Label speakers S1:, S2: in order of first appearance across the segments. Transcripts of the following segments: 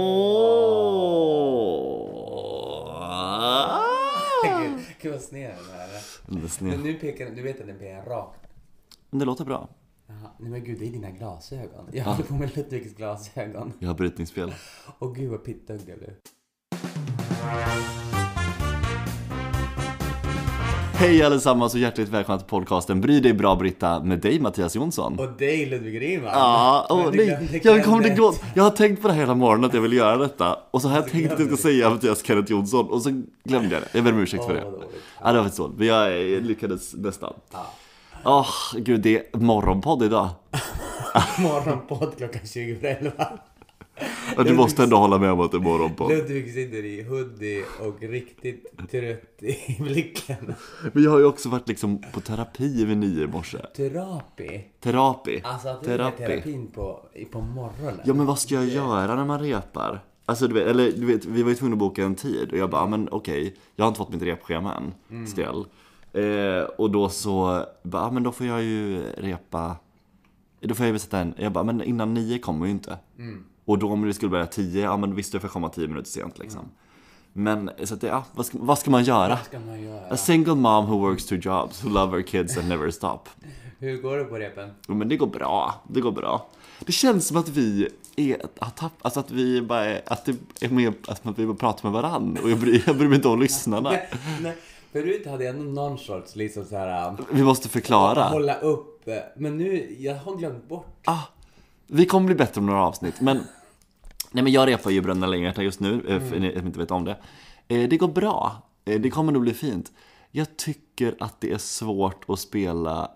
S1: Den där
S2: Men
S1: sned.
S2: nu pekar den, du vet att den pekar rakt.
S1: Men det låter bra.
S2: Jaha. Nej men gud, det är dina glasögon. Jag håller på med Ludvigs glasögon.
S1: Jag har brytningsfel.
S2: Åh gud vad pittögd jag blev.
S1: Hej allesammans och hjärtligt välkomna till podcasten Bry dig bra Britta med dig Mattias Jonsson.
S2: Och dig Ludvig Riemann.
S1: Ja,
S2: Men
S1: åh
S2: du glömde
S1: nej, jag kommer
S2: Kenneth.
S1: inte gå. Jag har tänkt på det här hela morgonen att jag vill göra detta och så har jag tänkt att jag
S2: glömde
S1: ska säga Mattias Kenneth Jonsson och så glömde jag det. Jag ber om ursäkt för
S2: Åh,
S1: det.
S2: vad dåligt.
S1: Ja, det var faktiskt dåligt, men jag eh, lyckades nästan.
S2: Ja.
S1: Åh, gud det är morgonpodd idag.
S2: Morgonpodd klockan 20 för 11.
S1: Ja, Du måste ändå hålla med om att det är morgonpodd.
S2: Ludvig sitter i hoodie och riktigt trött i blicken.
S1: Men jag har ju också varit liksom på terapi vid nio i morse.
S2: Terapi.
S1: Terapi.
S2: Alltså att du gör terapin på, i- på morgonen.
S1: Ja men vad ska jag göra när man repar? Alltså du vet, eller du vet, vi var ju tvungna att boka en tid och jag bara, "Ah, men okej, jag har inte fått mitt repschema än,
S2: Mm.
S1: skräll. Eh, och då så, bara, "Ah, men då får jag ju repa, då får jag ju sätta en, jag bara, men innan nio kommer ju inte.
S2: Mm.
S1: Och då om det skulle börja tio, ja men visst jag får komma tio minuter sent liksom.
S2: Mm.
S1: Men så att det, ja, vad ska, vad ska man göra?
S2: Vad ska man göra?
S1: A single mom who works two jobs, who love her kids and never stop.
S2: Hur går det på repen?
S1: Jo, men det går bra. Det går bra. Det känns som att vi är, har tappat, alltså att vi bara är, att det är med, att vi bara pratar med varann och jag bryr, jag bryr mig inte om lyssnarna.
S2: Nej, nej. Förut hade jag nog någon sorts liksom så här, äh,
S1: Vi måste förklara.
S2: hålla upp. äh, Men nu, jag har glömt bort.
S1: Ah, vi kommer bli bättre om några avsnitt, men nej, men jag repar ju Bröderna Lejonhjärta just nu, eh, för ni som inte vet om det. Eh, Det går bra. Eh, Det kommer nog bli fint. Jag tycker att det är svårt att spela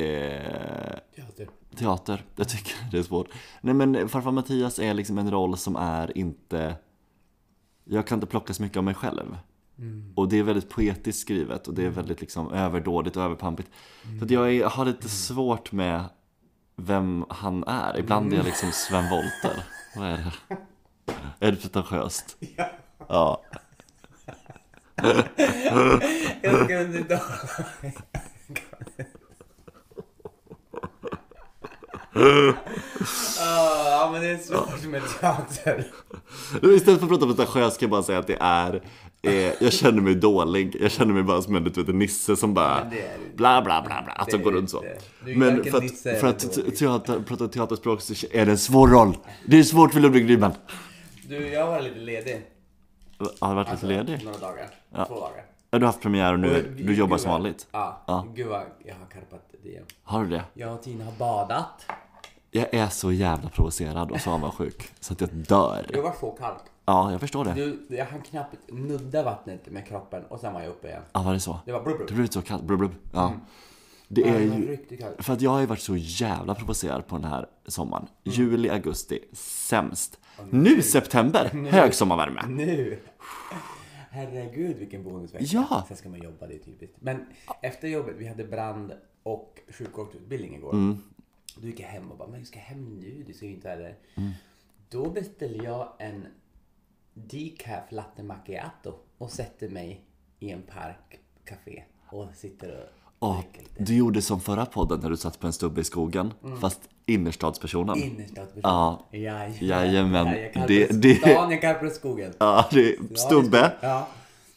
S1: eh,
S2: Ja, du.
S1: teater. Jag tycker det är svårt. Nej men farfar Mattias är liksom en roll som är inte... Jag kan inte plocka så mycket av mig själv. Och det är väldigt poetiskt skrivet och det är väldigt liksom överdådigt och överpampigt. Så att jag är, har lite svårt med vem han är. Ibland är jag liksom Sven Wollter. Vad är det? Är det pretentiöst?
S2: Ja.
S1: Ja.
S2: Jag kunde inte hålla Ah, Ja, men det är svårt med teater.
S1: Nu, Istället för att prata om pretentiöst kan jag bara säga att det är eh, Jag känner mig dålig Jag känner mig bara som en du vet, en nisse som bara
S2: Men det är du
S1: Bla bla bla bla Att
S2: Det
S1: de
S2: är
S1: går
S2: du
S1: runt så
S2: inte. Du är
S1: Men
S2: varken
S1: för
S2: nisse
S1: att,
S2: eller
S1: för att
S2: dålig.
S1: teater, prata teaterspråk så är det en svår roll Det är svårt för Ludvig Rydman
S2: Du, jag var lite ledig.
S1: Har du varit lite ledig?
S2: Några dagar. Två dagar.
S1: Ja, du har haft premiär och nu
S2: Och
S1: du jobbar
S2: gud
S1: som
S2: vad-
S1: vanligt
S2: Ja.
S1: Ja.
S2: Gud vad jag har karpat det igen.
S1: Har du det?
S2: Jag och Tina har badat.
S1: Jag är så jävla provocerad och så avundsjuk Så att jag dör
S2: Det var så kallt.
S1: Ja, jag förstår det
S2: Du, jag hann knappt nudda vattnet med kroppen och sen var jag uppe igen.
S1: Ja, var det så?
S2: Det var brubb,
S1: Det
S2: brubb.
S1: blev så kallt, blub, blub. Ja. Det är
S2: Det var
S1: ju
S2: riktigt kallt.
S1: För att jag har ju varit så jävla provocerad på den här sommaren. Juli, augusti, sämst. Nu september, högsommarvärme.
S2: Nu! Herregud vilken bonusvecka.
S1: Ja.
S2: Sen ska man jobba, det är typiskt. Men efter jobbet, vi hade brand och sjukvårdsutbildning igår.
S1: Mm.
S2: Då gick jag hem och bara, men jag ska hem nu, det ser ju inte heller.
S1: Mm.
S2: Då beställde jag en decaf latte macchiato och sätter mig i en park, café och sitter och
S1: Ja,
S2: dricker lite.
S1: du gjorde som förra podden när du satt på en stubbe i skogen, fast innerstadspersonen.
S2: Innerstadsperson.
S1: Ja. Jajamän. Det-
S2: Det,
S1: det-
S2: det... Stan, jag kallar på skogen.
S1: Ja, det är stubbe
S2: Ja.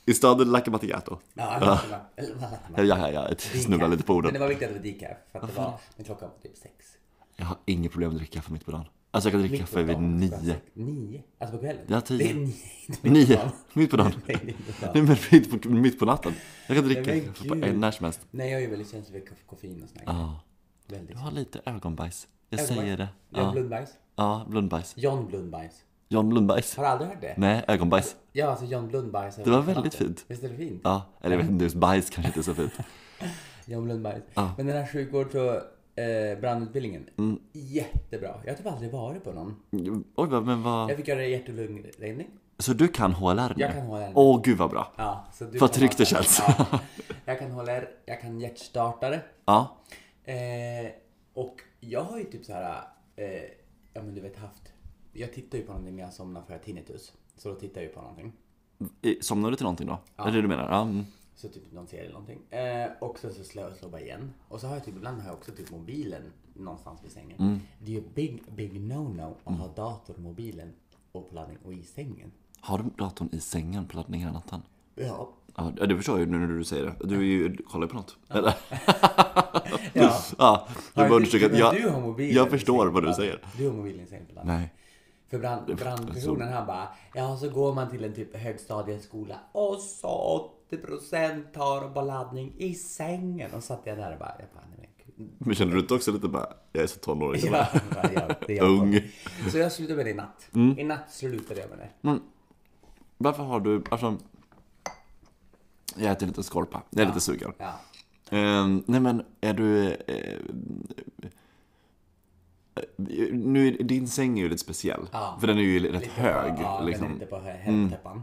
S1: i staden Laca Matigato.
S2: Ja, ja. ja.
S1: Ja, ja, ja, jag snubblar lite på
S2: Men det
S1: orden.
S2: var viktigt att det var decaf för att det var, men klockan var typ sex.
S1: Jag har inget problem med att dricka kaffe mitt på dagen. Alltså jag kan dricka kaffe vid
S2: Klockan var
S1: nio.
S2: sex. Nio? Alltså på kvällen?
S1: Ja, tio.
S2: Det är nio. Det är
S1: Nio,
S2: fan.
S1: mitt på dagen.
S2: Nej, det är inte fan.
S1: Nej men mitt på, mitt på natten. Jag kan dricka
S2: Nej, men
S1: kaffe på,
S2: gud.
S1: när som helst.
S2: Nej, jag är ju väldigt känslig för koff- koffein och sånt där.
S1: Ja.
S2: Väldigt.
S1: Jag har lite ögonbajs. Jag
S2: Ögonbajs.
S1: säger det.
S2: John
S1: Ja,
S2: Blundbajs.
S1: ja blundbajs.
S2: John Blundbajs.
S1: John Blundbajs.
S2: Har du aldrig hört det?
S1: Nej, ögonbajs.
S2: Ja, alltså John Blundbajs.
S1: Det var väldigt fint.
S2: Visst är det fint?
S1: Ja, eller jag vet inte, just bajs kanske inte är så fint.
S2: John Blundbajs. Men den här sjukvårds och eh, brandutbildningen.
S1: Mm.
S2: Jättebra. Jag har typ aldrig varit på någon.
S1: Oj, vad- men vad...
S2: Jag fick göra hjärt och lungräddning.
S1: Så du kan HLR nu?
S2: Jag kan HLR nu.
S1: Åh, gud vad bra.
S2: Ja, så du
S1: För att
S2: kan
S1: tryggt det
S2: hålla-
S1: känns.
S2: Ja. Jag kan hålla er, jag kan hjärtstartare.
S1: Ja.
S2: Eh, och jag har ju typ så här, eh, ja men du vet haft, jag tittar ju på någonting när jag somnar för jag har tinnitus. Så då tittar jag ju på någonting.
S1: I- Somnar du till någonting då? Är det det du menar? Ja. mm.
S2: Så typ någon serie eller någonting. Eh, och sen så slår jag slår bara igen. Och så har jag typ, ibland har jag också typ mobilen någonstans vid sängen.
S1: Mm.
S2: Det är ju big, big no-no att ha datorn, mobilen och på laddning och i sängen.
S1: Har du datorn i sängen på laddning hela natten?
S2: Ja.
S1: Ja, det förstår jag ju nu när du säger det. Du är ju, kollar ju på något. Eller?
S2: ja.
S1: Ja, jag bara understryka att
S2: men
S1: jag...
S2: du har mobilen
S1: jag
S2: i
S1: förstår
S2: sängen
S1: vad du
S2: ibland.
S1: säger.
S2: Du har mobilen i sängen ibland.
S1: Nej.
S2: För brand, brandpersonen han bara, ja så går man till en typ högstadieskola och så 80% tar bara laddning i sängen. Och satt jag där och bara, jag bara, nej men gud.
S1: Men känner du inte också lite bara, jag är så tonåring. så
S2: Ja, ja, ja, det är jag.
S1: Ung. Mm.
S2: Så jag slutade med det i natt. I natt slutade jag med det.
S1: Varför har du, alltså... Jag äter en liten skorpa. Jag är lite sugen.
S2: Ja.
S1: Ehm, nej men, är du... eh, eh, nu, är- din säng är ju lite speciell.
S2: Ja.
S1: För den är ju rätt
S2: Lite
S1: hög.
S2: På, ja,
S1: liksom.
S2: men inte på hö- herrtäppan.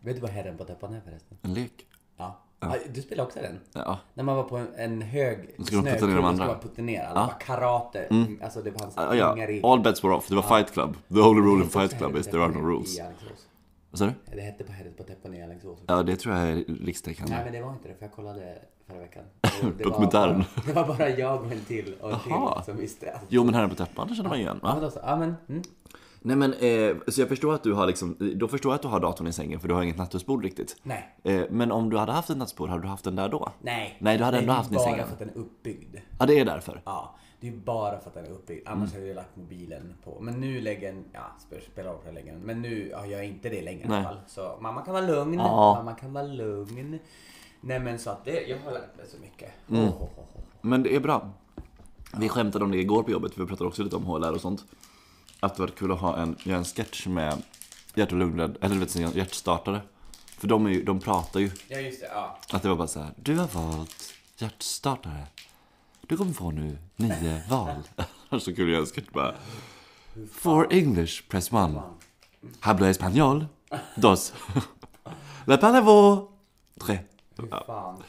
S2: Vet du vad herren på täppan är förresten?
S1: En lek.
S2: Ja. Ah, Du spelar också den?
S1: Ja.
S2: När man var på en, en hög
S1: ska man putta ner de
S2: snökrog,
S1: andra.
S2: skulle man putta ner alla. Det var Karate. Alltså det fanns
S1: Ah,
S2: inga
S1: ja. All bets were off. Det var Fight Club. The only rule in Fight Club is there are no rules.
S2: I Alingsås.
S1: Vad sa du?
S2: Det hette på Herren på täppan i Alingsås.
S1: Ja, det tror jag är
S2: Nej
S1: rikstäckande.
S2: men det var inte det för jag kollade förra veckan. Och det var
S1: Dokumentären.
S2: bara- Det var bara jag och en till och en
S1: Jaha.
S2: till som visste. allt.
S1: Jo, men här på täppan, det känner man igen.
S2: Ja
S1: Va?
S2: men då så, ja men. Mm.
S1: Nej men, eh, så jag förstår att du har liksom, då förstår jag att du har datorn i sängen för du har inget nattduksbord riktigt.
S2: Nej.
S1: Eh, men om du hade haft ett nattduksbord, hade du haft den där då?
S2: Nej.
S1: Nej, du hade ändå haft den i
S2: Det är
S1: sängen.
S2: bara för att den är uppbyggd.
S1: Ja, det är därför.
S2: Ja, det är bara för att den är uppbyggd.
S1: Mm.
S2: Annars hade jag lagt mobilen på. Men nu lägger den, ja spe- spelar roll för jag lägger den. Men nu ja, gör jag inte det längre i
S1: Nej.
S2: alla fall. Så mamma kan vara lugn.
S1: Ja.
S2: Mamma kan vara lugn. Nej men så att det, jag har lärt mig så mycket.
S1: Mm.
S2: Oh, oh, oh, oh.
S1: Men det är bra. Vi skämtade om det igår på jobbet, för vi pratade också lite om HLR och sånt. Att det var kul att ha en, göra en sketch med hjärt och lungrädd, eller du vet, sina hjärtstartare. För de, är ju, de pratar ju.
S2: Ja just det, ja.
S1: Att det var bara så här, du har valt hjärtstartare. Du kommer få nu nio val. så kul att göra en sketch bara. For English, press one. Hablo español, dos. La palavo, tre.
S2: Hur fan.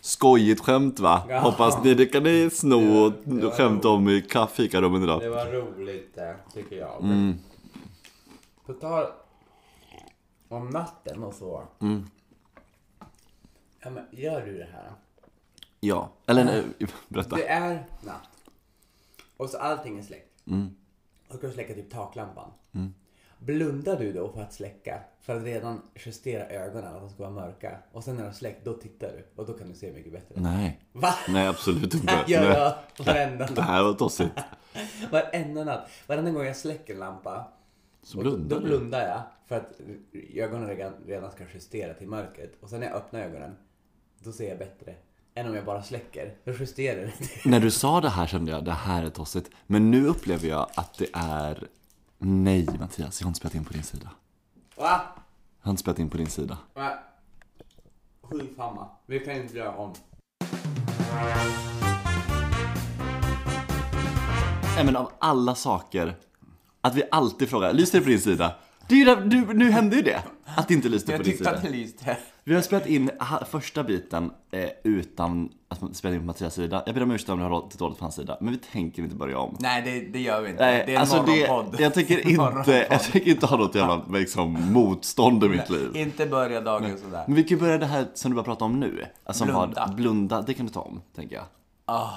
S1: Skojigt skämt va?
S2: Ja.
S1: Hoppas ni det kan ni sno och
S2: Det var
S1: skämta om i ka- fikarummen idag.
S2: Det var roligt det, tycker jag. Mm. På tal om natten och så. Ja, men gör du det här?
S1: Ja, eller nej, berätta.
S2: Det är natt. Och så allting är släckt. Och ska du släcka typ taklampan. Blundar du då för att släcka? För att redan justera ögonen att de ska vara mörka. Och sen när de är släckt, då tittar du. Och då kan du se mycket bättre.
S1: Nej,
S2: Va?
S1: nej absolut
S2: Det
S1: inte.
S2: här gör
S1: Nej,
S2: jag varenda
S1: det
S2: natt.
S1: här var tossigt.
S2: Varenda natt. Varenda gång jag släcker en lampa.
S1: Så
S2: Och då-
S1: blundar
S2: Då
S1: du.
S2: blundar jag för att ögonen redan, redan ska justera till mörkret. Och sen när jag öppnar ögonen, då ser jag bättre. Än om jag bara släcker. Då justerar det.
S1: När du sa det här kände jag, det här är tossigt. Men nu upplever jag att det är... Nej Mattias, jag har inte spelat in på din sida.
S2: Va?
S1: Jag har inte spelat in på din sida.
S2: Nej. Skitsamma. Vi kan inte göra om.
S1: Nej men av alla saker, att vi alltid frågar, lyser det på din sida? Det är ju där, du, nu hände ju det! Att det inte lyste på din sida.
S2: det lyste.
S1: Vi har spelat in ha- första biten eh, utan att man spelade in på Mattias sida. Jag ber om ursäkt om det har låtit dåligt på hans sida, men vi tänker inte börja om.
S3: Nej, det, det gör vi inte.
S1: Nej,
S3: det är en
S1: alltså det-
S3: morgonpodd.
S1: jag tänker inte, jag
S3: Morgonpodd.
S1: tänker inte ha något jävla liksom, motstånd i mitt liv.
S3: Inte börja dagen sådär.
S1: Men vi kan ju börja det här som du bara pratade om nu. Alltså, som
S3: Blunda.
S1: Var, blunda, det kan du ta om, tänker jag. Ah.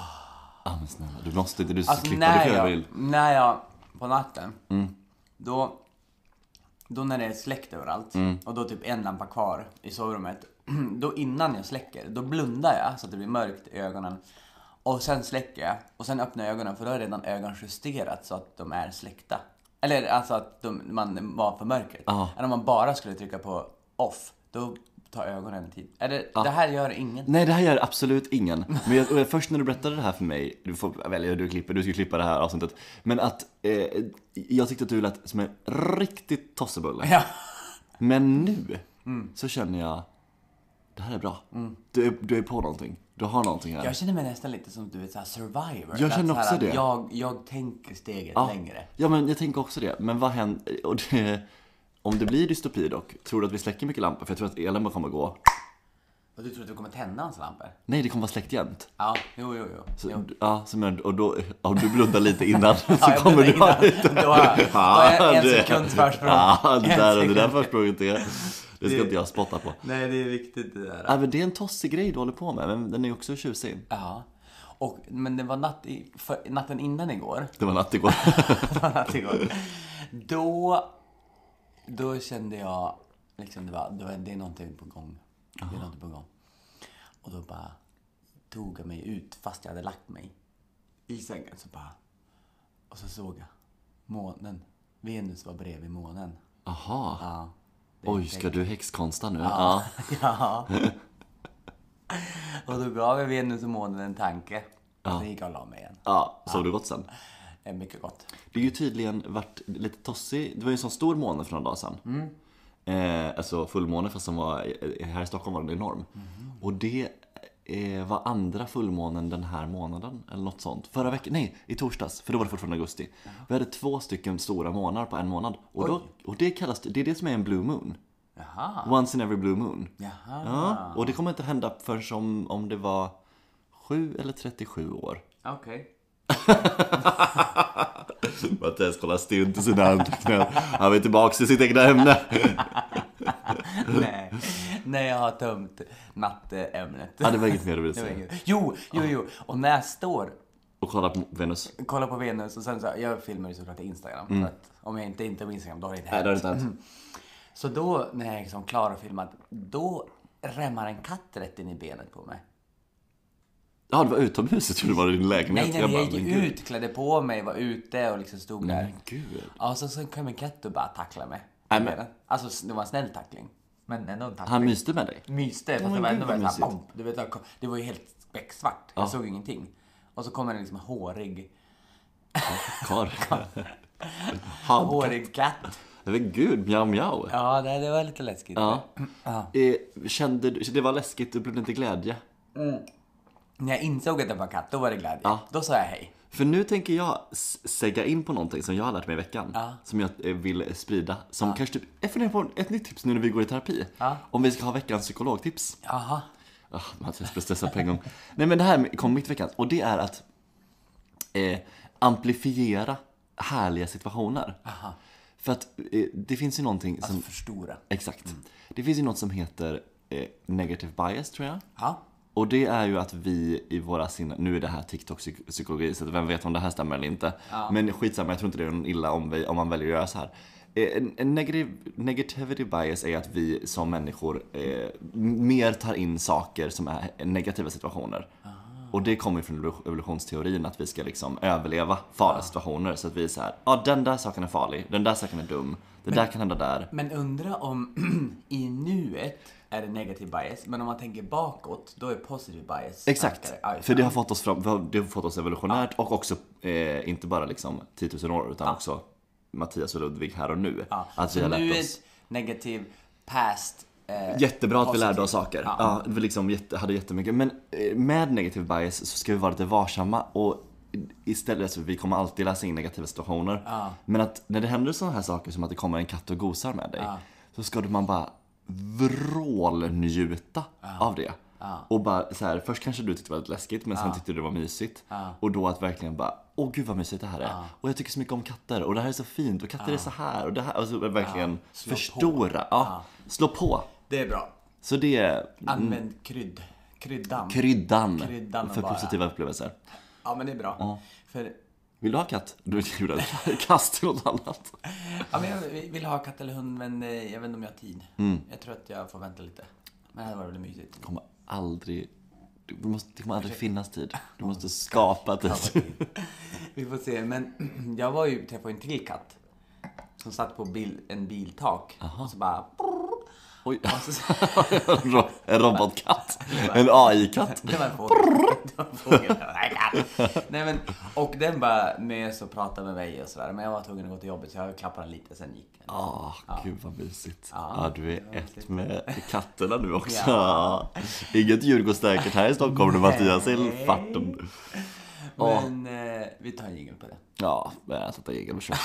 S1: men snälla, du måste inte, du ska
S3: Alltså,
S1: klippa, du
S3: när
S1: kan göra vad du
S3: jag,
S1: vill.
S3: när jag, på natten,
S1: Mm.
S3: då, då när det är släckt överallt
S1: Mm.
S3: och då typ en lampa kvar i sovrummet. Då innan jag släcker, då blundar jag så att det blir mörkt i ögonen. Och sen släcker jag och sen öppnar jag ögonen för då är redan ögonen justerat så att de är släckta. Eller alltså att de, man var för mörkret.
S1: Ja.
S3: Än om man bara skulle trycka på off, då tar ögonen tid. Eller, Det här gör inget.
S1: Nej, det här gör absolut ingen. Men jag, och jag- först när du berättade det här för mig, du får välja hur du klipper, du ska ju klippa det här avsnittet. Men att eh, jag tyckte att du lät som en riktigt tossebulle.
S3: Ja. Mm.
S1: Men nu så känner jag, det här är bra. Du, är- du är på någonting. Du har någonting här.
S3: Jag känner mig nästan lite som du vet såhär survivor.
S1: Jag känner
S3: Att så här
S1: också
S3: att
S1: det.
S3: Jag, jag tänker steget längre.
S1: Ja, men jag tänker också det. Men vad händer? Och det, om det blir dystopi dock, tror du att vi släcker mycket lampor? För jag tror att elen bara kommer gå.
S3: Och du tror att du kommer tända hans lampor?
S1: Nej, det kommer vara släckt jämt.
S3: Ja, jo, jo, jo.
S1: Så,
S3: jo.
S1: ja, som jag, och då, om du blundar lite innan så
S3: Ja, jag
S1: kommer du
S3: blundar
S1: ha
S3: innan.
S1: lite...
S3: Då har jag- då har jag en
S1: det-
S3: sekunds försprång.
S1: Ja, det
S3: En
S1: där, det
S3: sekund.
S1: där försprånget är... Det ska
S3: Det-
S1: inte jag spotta på.
S3: Nej, det är viktigt det där.
S1: Ja, men det är en tossig grej du håller på med, men den är ju också tjusig.
S3: Ja. Och, men det var natt i, för, natten innan igår.
S1: Det var natt igår.
S3: Det var natt igår. Då, då kände jag liksom det var, det var det är någonting på gång.
S2: Det var inte på gång. Och då bara tog jag mig ut fast jag hade lagt mig i sängen. Så bara, och så såg jag månen. Venus var bredvid månen.
S1: Aha.
S2: Ja. det
S1: Oj,
S2: tänkte-
S1: ska du häxkonsta nu? Ja.
S2: Ja. Och då gav jag Venus och månen en tanke. Sen gick jag och la mig igen.
S1: Ja, sov du gott sen?
S2: Det är mycket gott.
S1: Det är ju tydligen varit lite tossig. Det var ju en sån stor måne för några dagar sedan. Eh, alltså fullmåne fast som var, eh, här i Stockholm var den enorm. Och det eh, var andra fullmånen den här månaden eller något sånt. Förra veckan, nej i torsdags för då var det fortfarande augusti. Vi hade två stycken stora månader på en månad. Och, då, och det kallas, det är det som är en blue moon.
S2: Jaha.
S1: Once in every blue moon.
S2: Jaha.
S1: Ja, och det kommer inte hända förrän om, om det var 7 eller 37 år.
S2: Okej.
S1: Mattias kollar stint i sina anteckningar. Han vill tillbaks till sitt egna ämne.
S2: Nej. Nej, jag har tömt natteämnet.
S1: Ja, det var inget mer du ville
S2: Det var
S1: säga.
S2: inget. Jo, jo, jo. Och nästa år,
S1: Och kolla på Venus.
S2: kolla på Venus och sen så, jag filmar ju såklart i Instagram. För att om jag inte är inte på Instagram, då har det inte
S1: Mm. Nej,
S2: hänt.
S1: det har inte hänt.
S2: Så då, när jag är liksom klar och filmat, då remmar en katt rätt in i benet på mig.
S1: Ja, det var utomhus. Jag trodde det var i din lägenhet.
S2: Nej, nej, jag
S1: men
S2: gick
S1: gud.
S2: ut, klädde på mig, var ute och liksom stod där.
S1: Men gud.
S2: Ja, så, så kom en katt och bara tacklade mig.
S1: Nej, men-
S2: Alltså, det var en snäll tackling. Men ändå en tackling.
S1: Han myste med dig.
S2: myste, fast
S1: men
S2: det var
S1: gud,
S2: ändå
S1: vad
S2: väldigt såhär,
S1: mysigt.
S2: bomb. Du vet, jag kom- det var ju helt becksvart. Jag såg ju ingenting. Och så kommer en liksom hårig,
S1: Karl. Han.
S2: hårig katt.
S1: Men gud, mjau mjau.
S2: Ja, det, det var lite läskigt.
S1: Ja. Eh, Kände du, det var läskigt, du blev inte glädje.
S2: När jag insåg att det var katt, då var det glädje. Då sa jag hej.
S1: För nu tänker jag s- segga in på någonting som jag har lärt mig i veckan. Som jag eh, vill sprida. Som kanske typ, jag funderar på ett nytt tips nu när vi går i terapi. Om vi ska ha veckans psykologtips.
S2: Jaha.
S1: Ah, Mattias blir stressad på en gång. Nej men det här kom mitt i veckan och det är att eh, amplifiera härliga situationer. För att eh, det finns ju någonting som...
S2: För stora.
S1: Exakt. Det finns ju något som heter eh, negative bias tror jag.
S2: Ja.
S1: Och det är ju att vi i våra sinnen, nu är det här TikTok-psykologi så vem vet om det här stämmer eller inte. Men skitsamma, jag tror inte det är någon illa om, vi, om man väljer att göra så här. Eh, En, en negativ, negativity bias är att vi som människor eh, m- mer tar in saker som är negativa situationer. Och det kommer ju från evolu- evolutionsteorin att vi ska liksom överleva farliga situationer. Så att vi är så här, ja ah, den där saken är farlig, den där saken är dum, det där kan hända där.
S2: Men undra om i nuet är det negativ bias, men om man tänker bakåt, då är positiv bias
S1: Exakt,
S2: starkare. eh, Aj,
S1: för det har fått oss, fram, vi har- det har fått oss evolutionärt och också eh, inte bara liksom 10 000 år utan också Mattias och Ludvig här och nu. Alltså
S2: ja.
S1: Att vi
S2: Så
S1: har lärt
S2: nuet,
S1: oss.
S2: negativ, past, eh,
S1: Jättebra att vi
S2: positivt.
S1: lärde oss saker. Ja. vi liksom jätte, hade jättemycket. Men eh, med negativ bias så ska vi vara lite varsamma och istället, så vi kommer alltid läsa in negativa situationer. Men att när det händer sådana här saker som att det kommer en katt och gosar med dig. Så ska du man bara vrålnjuta av det. Och bara så här, först kanske du tyckte det var lite läskigt men sen tyckte du det var mysigt. Och då att verkligen bara, åh gud vad mysigt det här är. Och jag tycker så mycket om katter och det här är så fint och katter är så här och det här. Alltså verkligen
S2: på.
S1: förstora. Ja. Slå på.
S2: Det är bra.
S1: Så det är
S2: Använd krydd, kryddan.
S1: Mm. kryddan,
S2: Kryddan
S1: för
S2: bara.
S1: positiva upplevelser.
S2: ja, men det är bra. För
S1: Vill du ha katt? Du gjorde ett kast till något annat.
S2: Ja, men jag vill ha katt eller hund, men eh, jag vet inte om jag har tid.
S1: Mm.
S2: Jag tror att jag får vänta lite. Men det här var väldigt mysigt.
S1: Det kommer aldrig, du måste, det kommer aldrig finnas tid. Du måste skapa tid.
S2: Vi får se, men jag var ju träffade en till katt. Som satt på bil, en biltak. Och så bara...
S1: Oj,
S2: Och så,
S1: en ro- en robotkatt. En AI-katt.
S2: det var en fågel. Det var en fågel. Det var en katt. Nej, men, och den bara med och pratade med mig och sådär. Men jag var tvungen att gå till jobbet så jag klappade den lite, sen gick den.
S1: Ah, gud vad mysigt. Ja, du är ett med katterna nu också. Inget djur går säkert här i Stockholm när Mattias är i farten. Ja.
S2: Men eh, vi tar en jingel på det.
S1: Ja, men jag sätter egen och kör.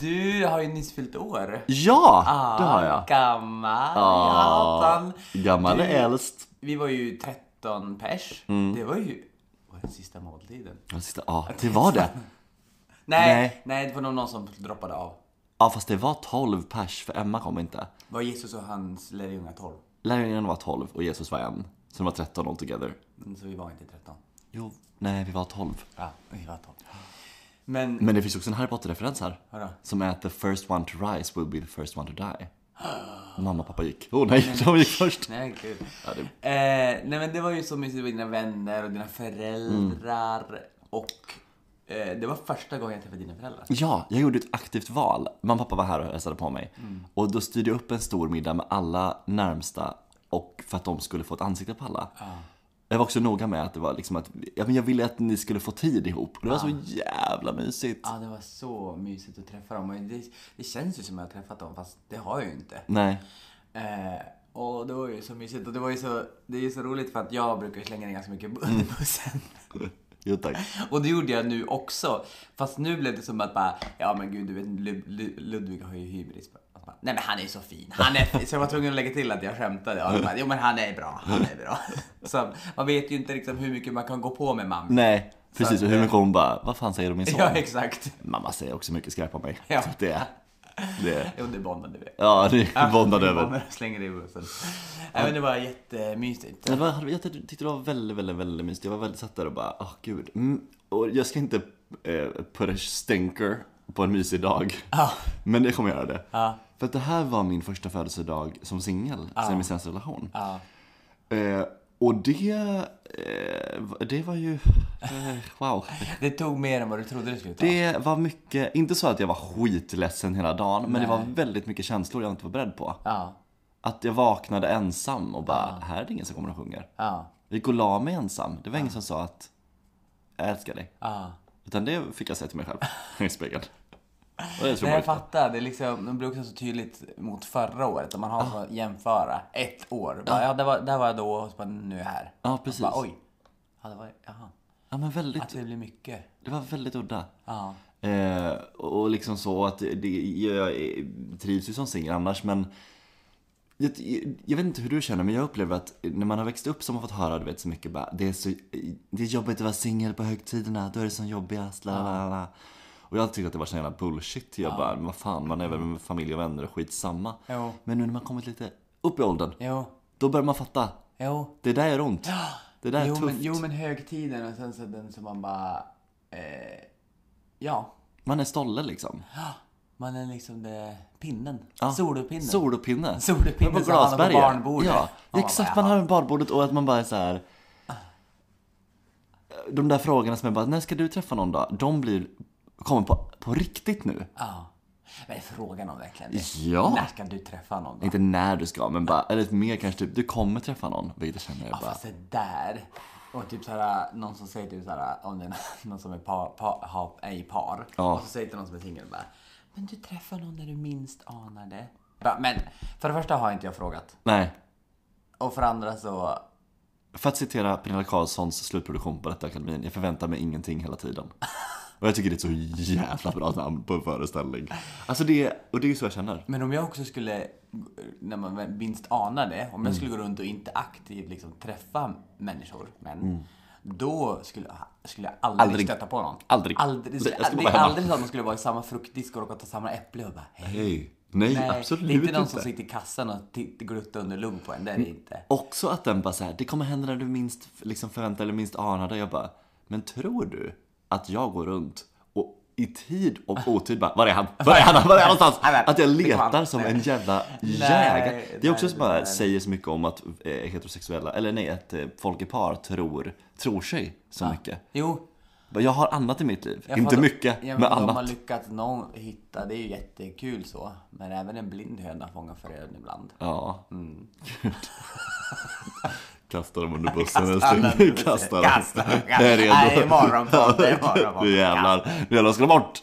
S2: Du har ju nyss fyllt år.
S1: Ja,
S2: Ah.
S1: det har jag.
S2: Gammal.
S1: Ah,
S2: Ja,
S1: Gammal
S2: Du-
S1: är äldst.
S2: Vi var ju 13 pers.
S1: Mm.
S2: Det var ju var det sista måltiden.
S1: Ja, sista- Ja, det var det.
S2: Nej,
S1: Nej.
S2: nej. det var nog någon som droppade av.
S1: Ja fast det var 12 pers för Emma kom inte.
S2: Det var Jesus och hans lärjungar 12.
S1: Lärjungarna var 12 och Jesus var en. Så de var 13 altogether.
S2: Mm, Så vi var inte 13.
S1: Jo, nej vi var 12.
S2: Ja, vi var 12. Men,
S1: Men det finns också en Harry Potter-referens här.
S2: Vadå?
S1: Som är att the first one to rise will be the first one to die. Mamma och pappa gick. Oh nej, de gick först.
S2: nej gud. Eh, nej men det var ju så mysigt med dina vänner och dina föräldrar
S1: Mm.
S2: och eh, det var första gången jag träffade dina föräldrar.
S1: Ja, jag gjorde ett aktivt val. Mamma och pappa var här och hälsade på mig.
S2: Mm.
S1: Och då styrde jag upp en stor middag med alla närmsta och för att de skulle få ett ansikte på alla. Jag var också noga med att det var liksom att, ja, men jag ville att ni skulle få tid ihop. Och det var så jävla mysigt.
S2: Ja, det var så mysigt att träffa dem och det, det känns ju som jag har träffat dem fast det har jag ju inte.
S1: Nej.
S2: Eh, och det var ju så mysigt och det var ju så, det är ju så roligt för att jag brukar ju slänga ner ganska mycket under bussen.
S1: Jo tack.
S2: Och det gjorde jag nu också. Fast nu blev det som att bara, ja men gud du vet Lu- Lu- Ludvig har ju hybris. Att bara, Nej men han är ju så fin, han är fin. Så jag var tvungen att lägga till att jag skämtade. Och alla bara, jo men han är bra, han är bra. Så man vet ju inte liksom hur mycket man kan gå på med mamma.
S1: Nej, precis.
S2: Så- eh,
S1: Och hur mycket hon bara, vad fan säger du om min son?
S2: Ja exakt.
S1: Mamma säger också mycket skräp om mig.
S2: Ja.
S1: Så att det, det,
S2: Jo det är Bond, du vet.
S1: ja, det är bondad
S2: Ja,
S1: över.
S2: men jag Slänger det i bussen. Nej men det var jättemysigt.
S1: Det var, jag tyckte tyckte det var väldigt, väldigt, väldigt mysigt. Jag var väldigt satt där och bara, åh gud. Mm. Och jag ska inte eh, put a stinker på en mysig dag.
S2: Ja.
S1: Men det kommer jag göra det.
S2: Ja.
S1: För att det här var min första födelsedag som singel sen min senaste relation.
S2: Ja.
S1: Eh, och det, eh, det var ju, eh, wow.
S2: Det tog mer än vad du trodde det skulle ta.
S1: Det var mycket, inte så att jag var skitledsen hela dagen, men det var
S2: Nej.
S1: väldigt mycket känslor jag inte var beredd på.
S2: Ja.
S1: Att jag vaknade ensam och bara, här är det ingen som kommer och sjunger.
S2: Ja.
S1: Jag gick och la mig ensam. Det var ingen som sa att jag älskar dig.
S2: Ja.
S1: Utan det fick jag säga till mig själv i spegeln. Och det tror
S2: Nej,
S1: jag
S2: jag
S1: på.
S2: fattar. Det, är liksom, det blir också så tydligt mot förra året. Om man har
S1: Ah.
S2: så att jämföra ett år. Bara, ja, där, var, där var jag då och så bara, nu är jag här.
S1: Ja, Ah. precis.
S2: Bara, oj. Ja, det var, jaha.
S1: Ja, men
S2: Att
S1: väldigt,
S2: det blir mycket.
S1: det var väldigt udda.
S2: Ja.
S1: Eh, och och liksom så att det, det- jag eh, trivs ju som singel annars men jag, jag vet inte hur du känner men jag upplever att när man har växt upp så har man fått höra du vet så mycket bara Det är, så, det är jobbigt att vara singel på högtiderna, då är det som jobbigast, la la la Och jag tyckte att det var sån jävla bullshit, jag bara men vad fan man är väl med familj och vänner och skitsamma
S2: Jo.
S1: Men nu när man kommit lite upp i åldern,
S2: Jo.
S1: då börjar man fatta
S2: Jo.
S1: Det där är ont, det där är
S2: Jo
S1: tufft
S2: men, jo, men högtiden och sen så den som man bara... Eh, ja.
S1: Man är stolle liksom
S2: Man är liksom det, pinnen.
S1: Ja.
S2: Solopinnen.
S1: Solopinne.
S2: Solopinne
S1: Men
S2: som man har på
S1: glasberget.
S2: barnbordet.
S1: Ja,
S2: Man
S1: exakt.
S2: bara,
S1: Man har en barnbordet och att man bara är så här. De där frågorna som är bara, när ska du träffa någon då? De blir, kommer på, på riktigt nu.
S2: Ja. Men frågan om verkligen det.
S1: Ja.
S2: När ska du träffa någon? då?
S1: Inte när du ska, men bara, eller mer kanske typ, du kommer träffa någon. Vilket jag känner jag bara,
S2: Fast det där. Och typ såhär, någon som säger typ såhär, om det är någon som är, par, par, ha, är i par.
S1: Ja.
S2: Och så säger till någon som är singel bara, men du träffar någon när du minst anar det. Bara, men för det första har inte jag frågat.
S1: nej.
S2: Och för det andra så,
S1: För att citera Pernilla Carlssons slutproduktion på detta akademin, jag förväntar mig ingenting hela tiden. Och jag tycker det är ett så jävla bra namn på en föreställning. Alltså det, och det är ju så jag känner.
S2: men om jag också skulle, när man minst anar det, om
S1: Mm.
S2: jag skulle gå runt och inte aktivt liksom träffa människor, men Då skulle jag, skulle jag aldrig,
S1: Mm. Aldrig.
S2: stöta på någon.
S1: Aldrig.
S2: aldrig
S1: Jag skulle
S2: det
S1: vara
S2: är
S1: hemma.
S2: aldrig så att man skulle vara i samma fruktdisk och råka ta samma äpple och bara hej.
S1: Hej. Nej, absolut
S2: det är inte någon
S1: inte. Mm.
S2: som sitter i kassan och titt- gluttar under lugn på en. Det är det inte.
S1: Också att den bara så här, det kommer hända när du minst liksom förväntar eller minst anar det. Jag bara, men tror du att jag går runt och i tid och otid bara, var är han? Var är han? Var är han någonstans?
S2: Nej, nej,
S1: Att jag
S2: det kommer
S1: letar
S2: han.
S1: som
S2: Nej.
S1: en jävla
S2: Nej,
S1: jägare. Det är också
S2: nej,
S1: som bara
S2: nej.
S1: säger så mycket om att eh, heterosexuella, eller nej, att eh, folk i par tror, tror sig så mycket.
S2: Jo.
S1: Bara, Jag har annat i mitt liv.
S2: jag
S1: Inte
S2: fattar-
S1: mycket, men
S2: jag vet inte om man
S1: annat.
S2: lyckats någon hitta, det är ju jättekul så. Men även en blind höna fångar föröden ibland.
S1: Ja.
S2: Mm.
S1: Gud. Kasta dem under bussen
S2: alla
S1: älskling.
S2: under
S1: Kasta dem.
S2: Kasta dem.
S1: Jag är redo.
S2: Nej, imorgon på, det är imorgon på.
S1: Nu jävlar. Nu jävlar ska de bort.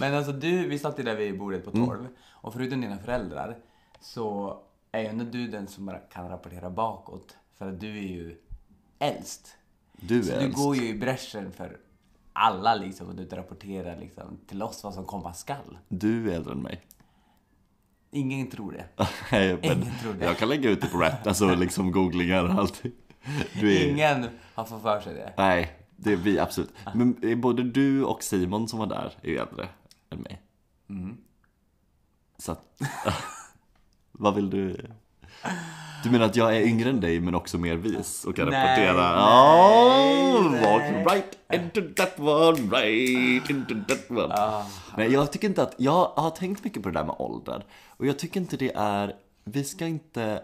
S2: Men alltså du, vi satt ju där vid bordet
S1: Mm.
S2: på 12 och förutom dina föräldrar så är ju ändå du den som bara kan rapportera bakåt. För att du är ju äldst.
S1: Du
S2: Så
S1: är
S2: du
S1: äldst.
S2: går ju i bräschen för alla liksom och du rapporterar liksom till oss vad som komma skall.
S1: Du är äldre än mig.
S2: Ingen tror det.
S1: Nej, men
S2: Ingen tror det.
S1: jag kan lägga ut det på Rat, alltså liksom googlingar och allt. Du är...
S2: Ingen har fått för sig det.
S1: Nej, det är vi absolut. Men eh, både du och Simon som var där är ju äldre än mig.
S2: Mm.
S1: Så att... Vad vill du? Du menar att jag är yngre än dig men också mer vis och kan
S2: Nej,
S1: repetera?
S2: nej,
S1: Oh,
S2: nej.
S1: walk right into that one, right into that one.
S2: Ah.
S1: Nej, jag tycker inte att, jag har tänkt mycket på det där med ålder och jag tycker inte det är, vi ska inte,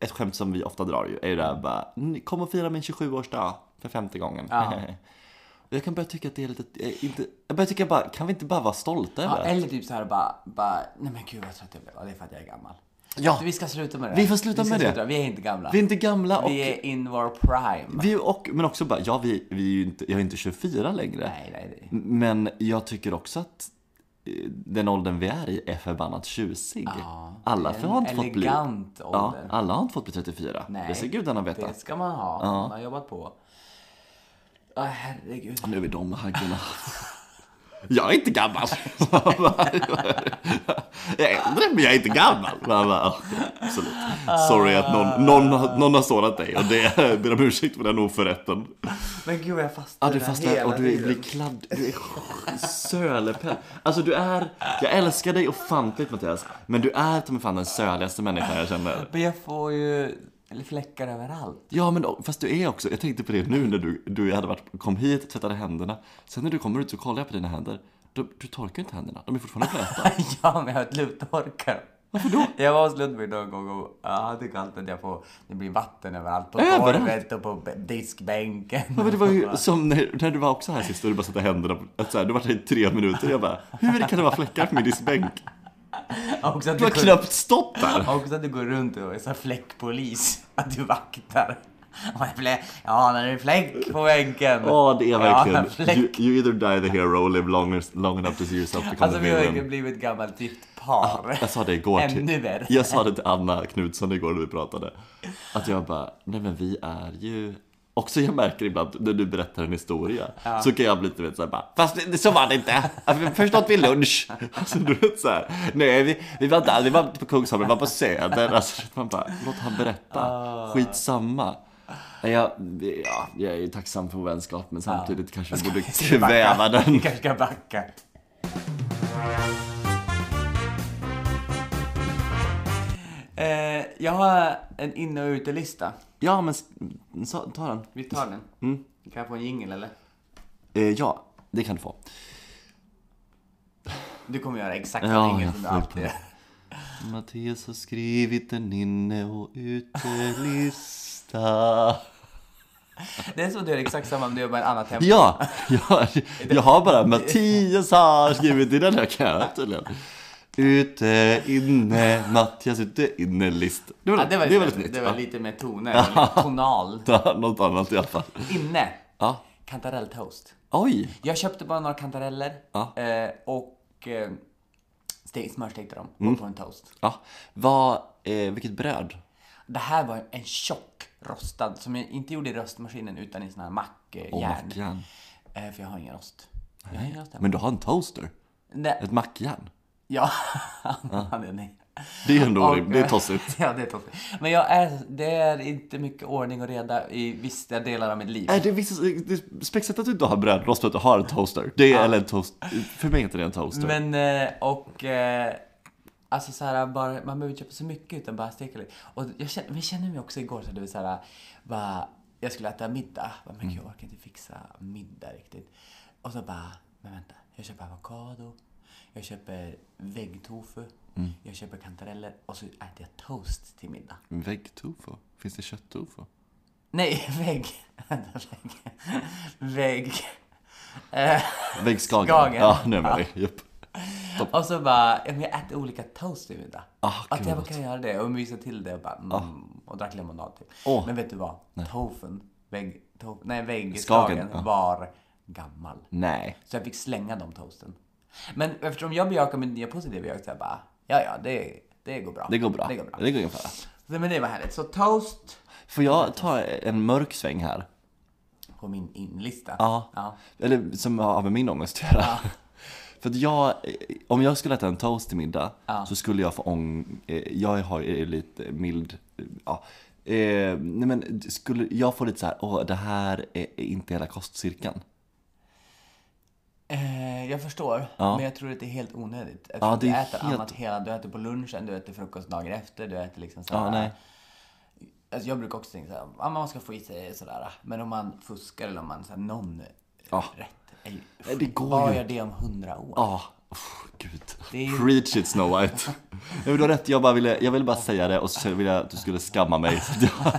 S1: ett skämt som vi ofta drar ju är ju det här bara, "Ni, kom och fira min 27-årsdag för femte gången. Och Jag kan börja tycka att det är lite, eh, inte, jag börjar tycka bara, kan vi inte bara vara stolta över
S2: Ja,
S1: det?
S2: eller typ såhär bara, bara, nej men gud vad trött jag blev. Ja, det är för att jag är gammal. Alltså,
S1: Ja.
S2: Vi ska sluta med det.
S1: Vi får sluta
S2: Vi ska
S1: med det.
S2: Vi är inte gamla.
S1: Vi är inte gamla och
S2: Vi är in vår prime.
S1: Vi och, men också bara, ja vi, vi är ju inte, jag är inte 24 längre.
S2: Nej, nej, nej.
S1: M- Men jag tycker också att eh, den åldern vi är i är förbannat tjusig. alla
S2: en
S1: för har inte fått bli...
S2: elegant
S1: Ja,
S2: ålder.
S1: alla har inte fått bli 34.
S2: Nej,
S1: Det ska gudarna veta.
S2: Det ska man ha. Man har jobbat på. Ja, herregud.
S1: Nu är vi de haggarna. Jag är inte gammal. jag är äldre men jag är inte gammal. Man bara, "Ja, Absolut. Sorry att någon, någon, har- någon har sårat dig och det jag ber om ursäkt för den oförrätten.
S2: Men gud vad jag fastnar
S1: Ja du
S2: i det här
S1: fastnar och du
S2: tiden.
S1: blir kladd, du är sölepell. Alltså du är, jag älskar dig ofantligt Mattias, men du är ta mig fan den söligaste människan jag känner.
S2: Men jag får ju eller fläckar överallt.
S1: Ja men då- fast du är också, jag tänkte på det nu när du, du hade varit, kom hit, tvättade händerna. Sen när du kommer ut så kollar jag på dina händer. Du, du torkar ju inte händerna, de är fortfarande blöta.
S2: ja, men jag har ett luttorkar. Varför då? Jag var hos Ludvig någon gång och ja, han tycker alltid att jag får, det blir vatten överallt. På
S1: Överallt?
S2: golvet och på b- diskbänken.
S1: Ja, men det var ju som när, när du var också här sist och du bara satte händerna på, att så här, du var här i tre minuter. Jag bara, hur kan det vara fläckar på min diskbänk?
S2: också, att
S1: Du har
S2: går-
S1: knappt stått där.
S2: också att du går runt och är så här fläckpolis. Att du vaktar. Och jag blir, ja, när det är fläck på bänken.
S1: Ja, det är
S2: Ja,
S1: verkligen.
S2: fläck.
S1: you, you either die the hero or live long, long enough to see yourself become
S2: Alltså
S1: the
S2: vi har
S1: villain.
S2: verkligen blivit ett gammalt gift par.
S1: Jag sa det igår
S2: Ännu
S1: till,
S2: värre.
S1: jag sa det till Anna Knutsson igår när vi pratade. Att jag bara, nej men vi är ju... Också jag märker ibland när du berättar en historia så kan jag bli lite vet, såhär bara Fast det- det, så var det inte! Först åt vi lunch! Alltså du vet såhär Nej vi, vi var inte vi var inte på Kungsholmen, vi var på Söder Alltså man bara, låt han berätta
S2: Ah.
S1: Skitsamma Nej, jag, ja, jag är ju tacksam för vår vänskap men samtidigt kanske jag borde
S2: Ska vi backa?
S1: kväva den
S2: Vi kanske ska backa. Eh, jag har en in och utelista.
S1: Ja men s- mm, så- ta den
S2: Vi tar den.
S1: Mm.
S2: Kan jag få en jingle eller?
S1: eh, Ja, det kan du få
S2: Du kommer göra exakt
S1: Ja,
S2: ja, jingle
S1: jag
S2: som du
S1: får
S2: alltid gör.
S1: Mattias har skrivit en inne och utelista.
S2: Det är som att du gör exakt samma men du gör bara en annan tempo.
S1: Ja, jag, jag har bara Mattias har skrivit i den här kön tydligen. Ute, inne, Mattias ute, inne, list. Det var,
S2: Ja, det var,
S1: det var
S2: lite,
S1: lite
S2: det,
S1: nytt.
S2: var lite mer toner. tonal.
S1: va? Något annat i alla fall.
S2: Inne.
S1: Ja.
S2: Kantarelltoast.
S1: Oj!
S2: Jag köpte bara några kantareller
S1: Ja.
S2: eh, och eh, ste- smörstekte dem
S1: Mm.
S2: och på en toast.
S1: Ja. Vad, eh, vilket bröd.
S2: Det här var en tjock rostad som jag inte gjorde i röstmaskinen utan i sån här mackjärn.
S1: Åh, mackjärn.
S2: eh, för jag har ingen rost. Jag har ingen rost hemma.
S1: Men du har en toaster?
S2: Nej,
S1: Ett mackjärn?
S2: ja. ja. det- nej.
S1: Det är ändå
S2: Och,
S1: orimligt. Det är
S2: eh,
S1: tossigt.
S2: ja, det är tossigt. Men jag är, det är inte mycket ordning och reda i vissa delar av mitt liv.
S1: Är Äh, det, vissa, det är spexigt att du inte har brödrost för att du har en toaster. Det är, eller en toast, för mig är inte det en toaster.
S2: Men eh, och eh, Alltså så här, bara, man behöver inte köpa så mycket utan bara steka lite. Och jag känner, men jag känner mig också igår så det var så här, bara, jag skulle äta middag. Bara, men gud, jag orkar inte fixa middag riktigt. Och så bara, men vänta, jag köper avokado. Jag köper väggtofu. Jag köper kantareller och så äter jag toast till middag.
S1: Mm. Väggtofu? Finns det kötttofu?
S2: Nej, vägg. Vänta, vägg. Vägg. Eh,
S1: Väggskagen?
S2: Skagen.
S1: Ja, nu är jag med dig. Japp.
S2: Och så bara, ja, men jag äter olika toast till middag.
S1: Ah,
S2: att
S1: gud,
S2: jag
S1: vad
S2: bara kan göra det och mysa till det och bara, mm, och drack lemonad typ.
S1: Ah. Åh.
S2: Men vet du vad? Tofen, vägg, tof, nej
S1: Skagen,
S2: väggskagen
S1: ja.
S2: var gammal.
S1: Nej.
S2: Så jag fick slänga de toasten. Men eftersom jag bejakar min nya positiva jag så jag bara, ja ja det, det går bra.
S1: Det går bra.
S2: Det går bra.
S1: Det går ungefär.
S2: Så, men det var härligt. Så toast
S1: Får jag ta en mörk sväng här?
S2: på min inlista.
S1: Ja.
S2: ja.
S1: Eller som har med min ångest att göra. För att jag, eh, om jag skulle äta en toast till middag så skulle jag få ång... eh, Jag har ju lite mild... eh, Ja. Eh, nej men skulle, jag får lite så här, åh det här är inte hela kostcirkeln.
S2: Eh, jag förstår,
S1: Ja.
S2: men jag tror att det är helt onödigt.
S1: Ja,
S2: Eftersom
S1: det
S2: du
S1: är
S2: äter
S1: helt-
S2: annat hela, du äter på lunchen, du äter frukost dagen efter, du äter liksom
S1: Ja,
S2: såhär...
S1: nej.
S2: Alltså jag brukar också tänka såhär, ja, man ska få i sig sådär. ah." Men om man fuskar eller om man såhär, någon
S1: Ja.
S2: rätt är ju...
S1: Nej, det går
S2: Vad
S1: ju.
S2: gör det om hundra år?
S1: Ja, Uff, gud.
S2: Det är ju-
S1: Preach it Snow White. Nej, men du har rätt, jag, bara ville, jag ville bara säga det och så ville jag att du skulle skamma mig.
S2: Ja,